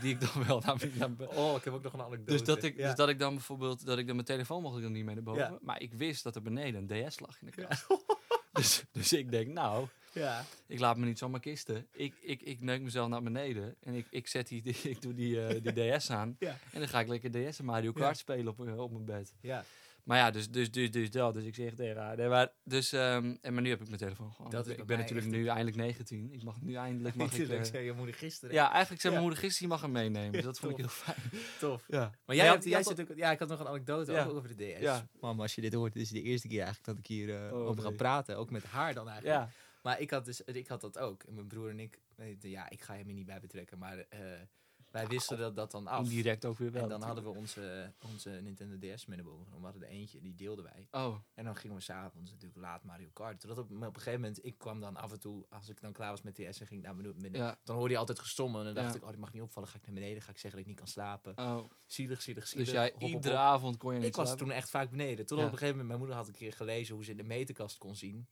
[SPEAKER 3] Die ik dan wel naar, naar be-
[SPEAKER 2] Oh, ik heb ook nog een anekdote.
[SPEAKER 3] dus dat, ik,
[SPEAKER 2] Ja.
[SPEAKER 3] dus dat ik dan bijvoorbeeld, dat ik dan mijn telefoon mocht ik dan niet mee naar boven.
[SPEAKER 2] Ja.
[SPEAKER 3] Maar ik wist dat er beneden een DS lag in de kast. Dus, dus ik denk, nou,
[SPEAKER 2] Ja.
[SPEAKER 3] ik laat me niet zomaar kisten. Ik, ik, ik neuk mezelf naar beneden en ik, ik zet die, die- ik doe die, eh, die DS aan.
[SPEAKER 2] Ja.
[SPEAKER 3] En dan ga ik lekker DS en Mario Kart spelen op, eh, op mijn bed.
[SPEAKER 2] Ja.
[SPEAKER 3] Maar ja, dus, dus, dus, dus dat. Dus ik zeg tegen haar. Nee, maar, dus, ehm, en maar nu heb ik mijn telefoon gewoon.
[SPEAKER 2] Dat is
[SPEAKER 3] ik
[SPEAKER 2] bij
[SPEAKER 3] ben
[SPEAKER 2] mij
[SPEAKER 3] natuurlijk nu eindelijk 19. Ik mag nu eindelijk... Mag ik, eh,
[SPEAKER 2] Natuurlijk, zei je moeder gisteren.
[SPEAKER 3] ja, eigenlijk zijn
[SPEAKER 2] Ja.
[SPEAKER 3] mijn moeder gisteren, die mag hem meenemen. Dus
[SPEAKER 2] Ja,
[SPEAKER 3] dat vond ik heel
[SPEAKER 2] top.
[SPEAKER 3] fijn.
[SPEAKER 2] tof.
[SPEAKER 3] Ja.
[SPEAKER 2] Maar
[SPEAKER 3] Maar
[SPEAKER 2] jij,
[SPEAKER 3] ja,
[SPEAKER 2] hebt,
[SPEAKER 3] die
[SPEAKER 2] jij
[SPEAKER 3] had
[SPEAKER 2] zit ook, ja, ik had nog een anekdote
[SPEAKER 3] Ja.
[SPEAKER 2] ook over de DS.
[SPEAKER 3] Ja.
[SPEAKER 2] Mam, als je dit hoort, dit is de eerste keer eigenlijk dat ik hier eh,
[SPEAKER 3] Oh,
[SPEAKER 2] over ga
[SPEAKER 3] nee.
[SPEAKER 2] praten. Ook met haar dan eigenlijk.
[SPEAKER 3] Ja.
[SPEAKER 2] Maar ik had, dus, ik had dat ook. En mijn broer en ik, eh, de- ja, ik ga hem er niet bij betrekken, maar eh, wij wisten dat, dat dan af.
[SPEAKER 3] Indirect ook weer wel.
[SPEAKER 2] En dan hadden we onze, eh, onze Nintendo DS met boven. We hadden er eentje, die deelden wij.
[SPEAKER 3] Oh,
[SPEAKER 2] En dan gingen we s'avonds natuurlijk laat Mario Kart. Totdat op, maar op een gegeven moment, ik kwam dan af en toe, als ik dan klaar was met DS en ging ik naar beneden.
[SPEAKER 3] ja.
[SPEAKER 2] Dan hoorde je altijd gestommen en dan dacht
[SPEAKER 3] Ja.
[SPEAKER 2] ik, oh, dit mag niet opvallen. Ga ik naar beneden, ga ik zeggen dat ik niet kan slapen.
[SPEAKER 3] Oh.
[SPEAKER 2] Zielig, zielig, zielig.
[SPEAKER 3] Dus jij
[SPEAKER 2] Hop, hop,
[SPEAKER 3] iedere
[SPEAKER 2] hop.
[SPEAKER 3] avond kon je niet
[SPEAKER 2] Ik was
[SPEAKER 3] slapen?
[SPEAKER 2] toen echt vaak beneden. Tot
[SPEAKER 3] Ja.
[SPEAKER 2] op een gegeven moment, mijn moeder had een keer gelezen hoe ze in de meterkast kon zien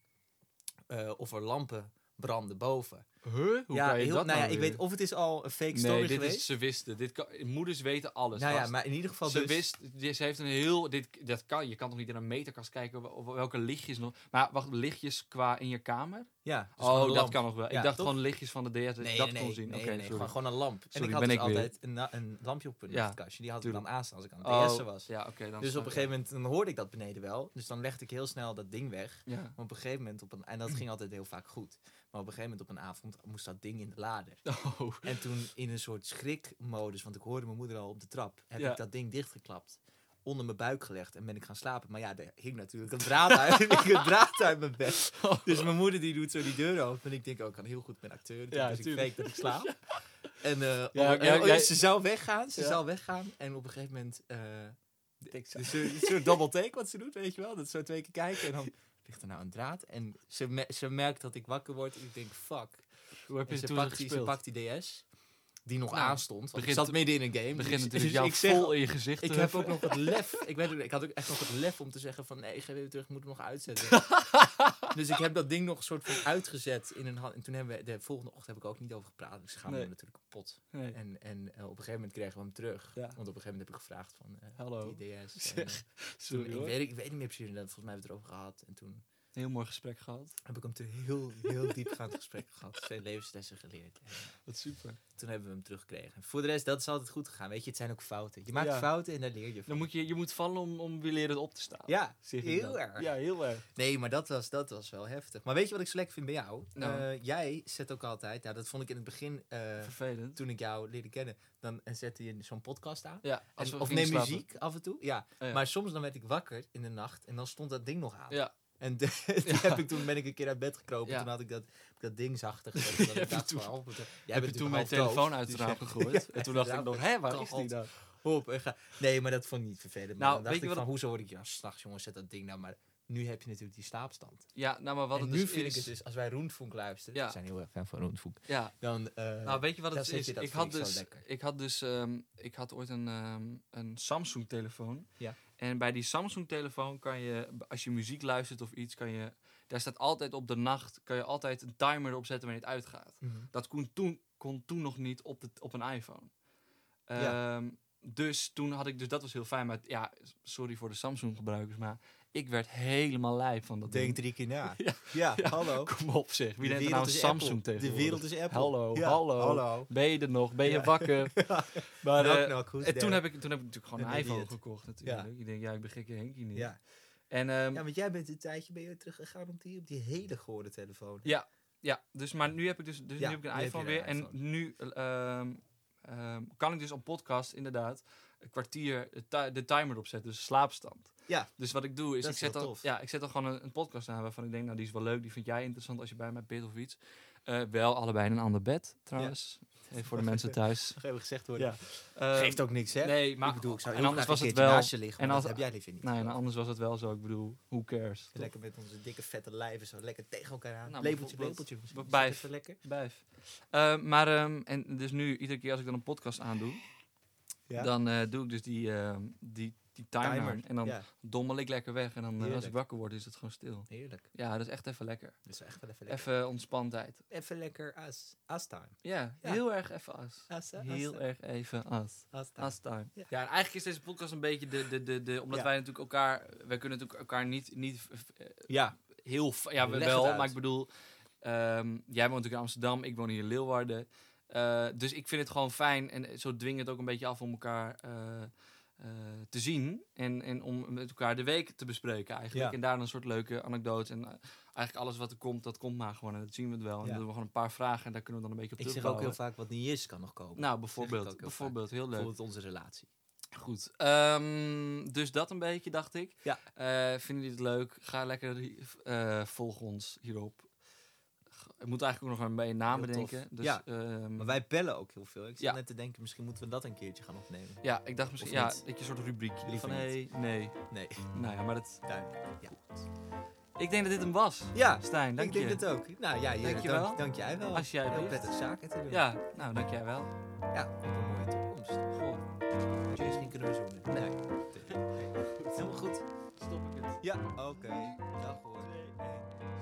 [SPEAKER 2] eh, of er lampen brandden boven.
[SPEAKER 3] Huh? Hoe kan je
[SPEAKER 2] heel-
[SPEAKER 3] dat
[SPEAKER 2] nou ja,
[SPEAKER 3] nou
[SPEAKER 2] ik
[SPEAKER 3] weer?
[SPEAKER 2] weet of het is al een fake story
[SPEAKER 3] Nee, dit
[SPEAKER 2] geweest.
[SPEAKER 3] is, ze wisten. Dit kan, moeders weten alles.
[SPEAKER 2] nou ja,
[SPEAKER 3] gast.
[SPEAKER 2] maar in ieder geval
[SPEAKER 3] ze
[SPEAKER 2] dus...
[SPEAKER 3] wist, dit- ze heeft een heel, dit, dat kan, je kan toch niet in een meterkast kijken wel- wel- welke lichtjes nog, maar wacht, lichtjes qua in je kamer?
[SPEAKER 2] Ja, dus gewoon een
[SPEAKER 3] oh, dat
[SPEAKER 2] lamp.
[SPEAKER 3] kan nog wel.
[SPEAKER 2] Ja,
[SPEAKER 3] ik dacht
[SPEAKER 2] toch?
[SPEAKER 3] gewoon lichtjes van de DS, dat
[SPEAKER 2] Nee,
[SPEAKER 3] ik
[SPEAKER 2] nee,
[SPEAKER 3] dat
[SPEAKER 2] nee,
[SPEAKER 3] kon zien.
[SPEAKER 2] nee,
[SPEAKER 3] Oké,
[SPEAKER 2] nee,
[SPEAKER 3] sorry.
[SPEAKER 2] gewoon, gewoon een lamp.
[SPEAKER 3] Sorry,
[SPEAKER 2] en ik had
[SPEAKER 3] ben
[SPEAKER 2] dus
[SPEAKER 3] ik weer.
[SPEAKER 2] altijd een, na- een lampje op een
[SPEAKER 3] Ja,
[SPEAKER 2] nachtkastje. Die had ik dan aanstaan als ik aan
[SPEAKER 3] Oh,
[SPEAKER 2] het DS'en was.
[SPEAKER 3] Ja, oké. dan
[SPEAKER 2] Dus
[SPEAKER 3] snap
[SPEAKER 2] op een
[SPEAKER 3] ik.
[SPEAKER 2] gegeven moment dan hoorde ik dat beneden wel. Dus dan legde ik heel snel dat ding weg.
[SPEAKER 3] Ja.
[SPEAKER 2] Maar op een gegeven moment, op een, en dat ging altijd heel vaak goed. Maar op een gegeven moment op een avond moest dat ding in de lader.
[SPEAKER 3] Oh,
[SPEAKER 2] En toen in een soort schrikmodus, want ik hoorde mijn moeder al op de trap, heb
[SPEAKER 3] Ja.
[SPEAKER 2] ik dat ding dichtgeklapt. Onder mijn buik gelegd en ben ik gaan slapen. Maar ja, er hing natuurlijk een draad uit, er hing een draad uit mijn bed.
[SPEAKER 3] Oh.
[SPEAKER 2] Dus mijn moeder die doet zo die deur open. En ik denk, oh, ik kan heel goed met acteuren.
[SPEAKER 3] Ja,
[SPEAKER 2] dus ik
[SPEAKER 3] tuurlijk.
[SPEAKER 2] fake dat ik slaap. En, eh, op-
[SPEAKER 3] ja,
[SPEAKER 2] en- oh,
[SPEAKER 3] jij-
[SPEAKER 2] ze zou weggaan, ze
[SPEAKER 3] Ja.
[SPEAKER 2] zou weggaan. En op een gegeven moment... eh dus een soort double take wat ze doet, weet je wel. Dat zo twee keer kijken en dan ligt er nou een draad. En ze, me- ze merkt dat ik wakker word en ik denk, fuck.
[SPEAKER 3] hoe heb je
[SPEAKER 2] En
[SPEAKER 3] het
[SPEAKER 2] ze
[SPEAKER 3] toen
[SPEAKER 2] pakt, die, ze
[SPEAKER 3] gespeeld?
[SPEAKER 2] pakt die DS, die nog
[SPEAKER 3] Nou,
[SPEAKER 2] aanstond. Want ik
[SPEAKER 3] begint-
[SPEAKER 2] zat midden in een game.
[SPEAKER 3] Het begint
[SPEAKER 2] dus-
[SPEAKER 3] natuurlijk
[SPEAKER 2] dus
[SPEAKER 3] jou
[SPEAKER 2] ik zeg,
[SPEAKER 3] vol in je gezicht
[SPEAKER 2] Ik
[SPEAKER 3] te
[SPEAKER 2] heb
[SPEAKER 3] huffen.
[SPEAKER 2] ook nog het lef. Ik, weet, het niet, ik had ook echt nog het lef om te zeggen van... Nee, geef even terug, ik moet hem nog uitzetten. dus ik heb dat ding nog soort van uitgezet in een hand. En toen hebben we... De volgende ochtend heb ik ook niet over gepraat. dus Ik schaamde
[SPEAKER 3] Nee.
[SPEAKER 2] me natuurlijk kapot.
[SPEAKER 3] Nee.
[SPEAKER 2] En, en eh, op een gegeven moment kregen we hem terug.
[SPEAKER 3] Ja.
[SPEAKER 2] Want op een gegeven moment heb ik gevraagd van... eh,
[SPEAKER 3] Hallo.
[SPEAKER 2] Die DS. en,
[SPEAKER 3] Zeg,
[SPEAKER 2] eh, toen-
[SPEAKER 3] Sorry
[SPEAKER 2] ik,
[SPEAKER 3] hoor.
[SPEAKER 2] weet, ik weet niet meer precies. inderdaad, Volgens mij hebben we het erover gehad. En toen
[SPEAKER 3] Heel mooi gesprek gehad.
[SPEAKER 2] heb ik hem te heel, heel diepgaand gesprek gehad. Twee levenslessen geleerd. En, eh,
[SPEAKER 3] Wat super.
[SPEAKER 2] toen hebben we hem teruggekregen. Voor de rest, dat is altijd goed gegaan. Weet je, het zijn ook fouten. Je maakt
[SPEAKER 3] Ja.
[SPEAKER 2] fouten en daar leer je van.
[SPEAKER 3] Dan moet je, je moet vallen om, om weer leren op te staan.
[SPEAKER 2] Ja,
[SPEAKER 3] Zeg ik
[SPEAKER 2] heel
[SPEAKER 3] dan.
[SPEAKER 2] erg.
[SPEAKER 3] Ja, heel erg.
[SPEAKER 2] Nee, maar dat was, dat was wel heftig. Maar weet je wat ik zo lekker vind bij jou?
[SPEAKER 3] Nou.
[SPEAKER 2] Eh, jij zet ook altijd, nou, dat vond ik in het begin, eh,
[SPEAKER 3] Vervelend.
[SPEAKER 2] toen ik jou leerde kennen, dan en zette je zo'n podcast aan.
[SPEAKER 3] Ja, als
[SPEAKER 2] En-
[SPEAKER 3] we
[SPEAKER 2] of
[SPEAKER 3] gingen
[SPEAKER 2] neem
[SPEAKER 3] slapen.
[SPEAKER 2] muziek af en toe. Ja.
[SPEAKER 3] Oh ja.
[SPEAKER 2] Maar soms dan werd ik wakker in de nacht en dan stond dat ding nog aan.
[SPEAKER 3] Ja.
[SPEAKER 2] En de- die
[SPEAKER 3] Ja.
[SPEAKER 2] heb ik toen ben ik een keer uit bed gekropen.
[SPEAKER 3] Ja.
[SPEAKER 2] Toen had ik dat, dat ding zachter gezet. omdat
[SPEAKER 3] Heb
[SPEAKER 2] ik
[SPEAKER 3] je
[SPEAKER 2] dacht
[SPEAKER 3] toen-
[SPEAKER 2] van, oh, wat- jij
[SPEAKER 3] heb je
[SPEAKER 2] bent
[SPEAKER 3] toen mijn
[SPEAKER 2] natuurlijk half
[SPEAKER 3] telefoon
[SPEAKER 2] doof,
[SPEAKER 3] uit het
[SPEAKER 2] dus
[SPEAKER 3] raam
[SPEAKER 2] jij-
[SPEAKER 3] gegooid. En toen dacht ik nog, hé, waar is
[SPEAKER 2] God.
[SPEAKER 3] die nou?
[SPEAKER 2] Hop, en ga. Nee, maar dat vond ik niet vervelend. Maar
[SPEAKER 3] Nou,
[SPEAKER 2] dan dacht
[SPEAKER 3] weet je
[SPEAKER 2] ik
[SPEAKER 3] wat
[SPEAKER 2] van, hoezo word ik ja, s'nachts, jongens, zet dat ding nou maar. Nu heb je natuurlijk die slaapstand.
[SPEAKER 3] Ja, nou, maar wat
[SPEAKER 2] en
[SPEAKER 3] het
[SPEAKER 2] nu
[SPEAKER 3] dus
[SPEAKER 2] vind ik
[SPEAKER 3] is...
[SPEAKER 2] het dus, als wij Roentvoenk luisteren,
[SPEAKER 3] Ja.
[SPEAKER 2] we zijn heel erg fan van Roentvoenk,
[SPEAKER 3] Ja,
[SPEAKER 2] dan... eh,
[SPEAKER 3] nou, weet je wat
[SPEAKER 2] daar
[SPEAKER 3] het
[SPEAKER 2] zit
[SPEAKER 3] is?
[SPEAKER 2] je, dat
[SPEAKER 3] Ik
[SPEAKER 2] vind
[SPEAKER 3] had,
[SPEAKER 2] ik zo
[SPEAKER 3] dus,
[SPEAKER 2] lekker.
[SPEAKER 3] ik had dus... ehm, ik had ooit een, ehm, een Samsung-telefoon.
[SPEAKER 2] Ja.
[SPEAKER 3] En bij die Samsung-telefoon kan je... b- Als je muziek luistert of iets, kan je... Daar staat altijd op de nacht... Kan je altijd een timer erop zetten wanneer het uitgaat.
[SPEAKER 2] mhm.
[SPEAKER 3] Dat kon toen, kon toen nog niet op, de, op een iPhone.
[SPEAKER 2] Ja.
[SPEAKER 3] Ehm, Dus toen had ik, dus dat was heel fijn. Maar het- ja, s- sorry voor de Samsung-gebruikers, maar ik werd helemaal lijp van dat
[SPEAKER 2] Denk
[SPEAKER 3] ding.
[SPEAKER 2] drie keer na.
[SPEAKER 3] Mm-hmm. Ja.
[SPEAKER 2] Ja, hallo.
[SPEAKER 3] Kom op zeg, wie
[SPEAKER 2] De
[SPEAKER 3] neemt er nou
[SPEAKER 2] wereld
[SPEAKER 3] een
[SPEAKER 2] is
[SPEAKER 3] Samsung
[SPEAKER 2] Apple.
[SPEAKER 3] tegenwoordig?
[SPEAKER 2] De wereld is Apple.
[SPEAKER 3] Hallo,
[SPEAKER 2] Ja,
[SPEAKER 3] hallo.
[SPEAKER 2] hallo.
[SPEAKER 3] Ben je er nog? Ben je
[SPEAKER 2] Ja.
[SPEAKER 3] wakker? Maar,
[SPEAKER 2] Knock,
[SPEAKER 3] eh,
[SPEAKER 2] knock, who's
[SPEAKER 3] en toen
[SPEAKER 2] there?
[SPEAKER 3] heb, ik, toen heb ik natuurlijk gewoon een
[SPEAKER 2] Een
[SPEAKER 3] iPhone
[SPEAKER 2] idiot.
[SPEAKER 3] gekocht natuurlijk. Ik denk, ja, ik ben gekke Henkie niet.
[SPEAKER 2] Ja.
[SPEAKER 3] En, ehm,
[SPEAKER 2] ja, want jij bent een tijdje ben je teruggegaan op die, op die hele gehoorde telefoon.
[SPEAKER 3] Ja, dus, maar nu heb ik dus, dus
[SPEAKER 2] Ja,
[SPEAKER 3] nu heb
[SPEAKER 2] nu
[SPEAKER 3] ik een
[SPEAKER 2] heb
[SPEAKER 3] iPhone
[SPEAKER 2] je
[SPEAKER 3] weer.
[SPEAKER 2] een iPhone.
[SPEAKER 3] En nu ehm, ehm, kan ik dus op podcast inderdaad een kwartier de, ti- de timer erop zetten, dus slaapstand.
[SPEAKER 2] Ja.
[SPEAKER 3] Dus wat ik doe is,
[SPEAKER 2] Dat
[SPEAKER 3] ik
[SPEAKER 2] is
[SPEAKER 3] zet,
[SPEAKER 2] heel
[SPEAKER 3] dan,
[SPEAKER 2] tof.
[SPEAKER 3] ja, ik zet dan gewoon een, een podcast aan waarvan ik denk, nou die is wel leuk, die vind jij interessant als je bij mij bent of iets. Eh, wel allebei in een ander bed trouwens, Even voor de mensen thuis.
[SPEAKER 2] Mag even gezegd worden.
[SPEAKER 3] Ja. Ehm,
[SPEAKER 2] Geeft ook niks, hè?
[SPEAKER 3] Nee, maar
[SPEAKER 2] ik bedoel, ik zou
[SPEAKER 3] en
[SPEAKER 2] heel
[SPEAKER 3] anders
[SPEAKER 2] graag
[SPEAKER 3] was
[SPEAKER 2] een
[SPEAKER 3] het
[SPEAKER 2] keertje
[SPEAKER 3] wel.
[SPEAKER 2] naast je liggen,
[SPEAKER 3] en
[SPEAKER 2] maar
[SPEAKER 3] als-
[SPEAKER 2] dat heb jij liever niet.
[SPEAKER 3] Nee, en anders was het wel zo. Ik bedoel, who cares? toch?
[SPEAKER 2] Lekker met onze dikke vette lijven zo lekker tegen elkaar aan.
[SPEAKER 3] Nou,
[SPEAKER 2] lepeltje,
[SPEAKER 3] bijvoorbeeld-
[SPEAKER 2] lepeltje. misschien. Is
[SPEAKER 3] bij-
[SPEAKER 2] dat even lekker.
[SPEAKER 3] Blijf. Eh, maar, ehm, en dus nu, iedere keer als ik dan een podcast aandoe,
[SPEAKER 2] Ja.
[SPEAKER 3] dan eh, doe ik dus die, ehm, die, die timer. aan. En dan
[SPEAKER 2] Ja,
[SPEAKER 3] dommel ik lekker weg. En dan eh, als ik
[SPEAKER 2] Heerlijk.
[SPEAKER 3] wakker word, is het gewoon stil.
[SPEAKER 2] heerlijk.
[SPEAKER 3] Ja, dat is echt even lekker.
[SPEAKER 2] Dat is echt wel even lekker.
[SPEAKER 3] Even ontspantijd.
[SPEAKER 2] Even lekker as. As time. eh,
[SPEAKER 3] Ja,
[SPEAKER 2] Ja.
[SPEAKER 3] heel erg even as.
[SPEAKER 2] As, hè?
[SPEAKER 3] Heel
[SPEAKER 2] as, hè?
[SPEAKER 3] erg even as.
[SPEAKER 2] As time.
[SPEAKER 3] As time. Ja.
[SPEAKER 2] Ja.
[SPEAKER 3] en eigenlijk is deze podcast een beetje de, de, de, de omdat
[SPEAKER 2] Ja.
[SPEAKER 3] wij natuurlijk elkaar, wij kunnen natuurlijk elkaar niet, niet eh,
[SPEAKER 2] Ja,
[SPEAKER 3] heel, v- ja we
[SPEAKER 2] Leg
[SPEAKER 3] wel,
[SPEAKER 2] het uit.
[SPEAKER 3] maar ik bedoel, ehm, jij woont natuurlijk in Amsterdam, ik woon hier in Leeuwarden. Eh, dus ik vind het gewoon fijn en eh, zo dwing het ook een beetje af om elkaar eh, eh, te zien. En, en om met elkaar de week te bespreken eigenlijk.
[SPEAKER 2] Ja.
[SPEAKER 3] En daar dan een soort leuke anekdote. En eh, eigenlijk alles wat er komt, dat komt maar gewoon. En dat zien we het wel. En
[SPEAKER 2] Ja.
[SPEAKER 3] dan doen we gewoon een paar vragen en daar kunnen we dan een beetje op
[SPEAKER 2] Ik zeg ook
[SPEAKER 3] terugbouwen.
[SPEAKER 2] heel vaak, wat niet is, kan nog komen.
[SPEAKER 3] Nou,
[SPEAKER 2] ook heel
[SPEAKER 3] bijvoorbeeld.
[SPEAKER 2] vaak.
[SPEAKER 3] Bijvoorbeeld, heel leuk.
[SPEAKER 2] Bijvoorbeeld onze relatie.
[SPEAKER 3] Goed. Ehm, dus dat een beetje, dacht ik.
[SPEAKER 2] Ja.
[SPEAKER 3] Eh, vinden jullie het leuk? Ga lekker hi- eh, volg ons hierop. G- Ik moet eigenlijk ook nog bij een naam
[SPEAKER 2] Heel tof.
[SPEAKER 3] bedenken. Dus,
[SPEAKER 2] Ja.
[SPEAKER 3] ehm,
[SPEAKER 2] Maar wij bellen ook heel veel. Ik zat
[SPEAKER 3] Ja.
[SPEAKER 2] net te denken, misschien moeten we dat een keertje gaan opnemen.
[SPEAKER 3] ja, ik dacht misschien
[SPEAKER 2] Of
[SPEAKER 3] ja,
[SPEAKER 2] niet?
[SPEAKER 3] dat je een soort rubriekje doet
[SPEAKER 2] Liever
[SPEAKER 3] van hey, nee.
[SPEAKER 2] Nee,
[SPEAKER 3] Nou ja, maar dat,
[SPEAKER 2] duidelijk.
[SPEAKER 3] ik denk dat dit hem was.
[SPEAKER 2] Ja,
[SPEAKER 3] Stijn, dank
[SPEAKER 2] ik
[SPEAKER 3] je.
[SPEAKER 2] denk het ook. Nou ja,
[SPEAKER 3] Dank
[SPEAKER 2] dank,
[SPEAKER 3] je wel.
[SPEAKER 2] dank, dank jij wel.
[SPEAKER 3] Als jij
[SPEAKER 2] Heel
[SPEAKER 3] wilt.
[SPEAKER 2] prettig zaken te doen.
[SPEAKER 3] Ja, nou dank jij wel.
[SPEAKER 2] ja op een mooie toekomst.
[SPEAKER 3] Goh,
[SPEAKER 2] Misschien kunnen we zoenen. Nee. Helemaal goed.
[SPEAKER 3] stop ik het.
[SPEAKER 2] Ja, oké. Dag hoor. Hey.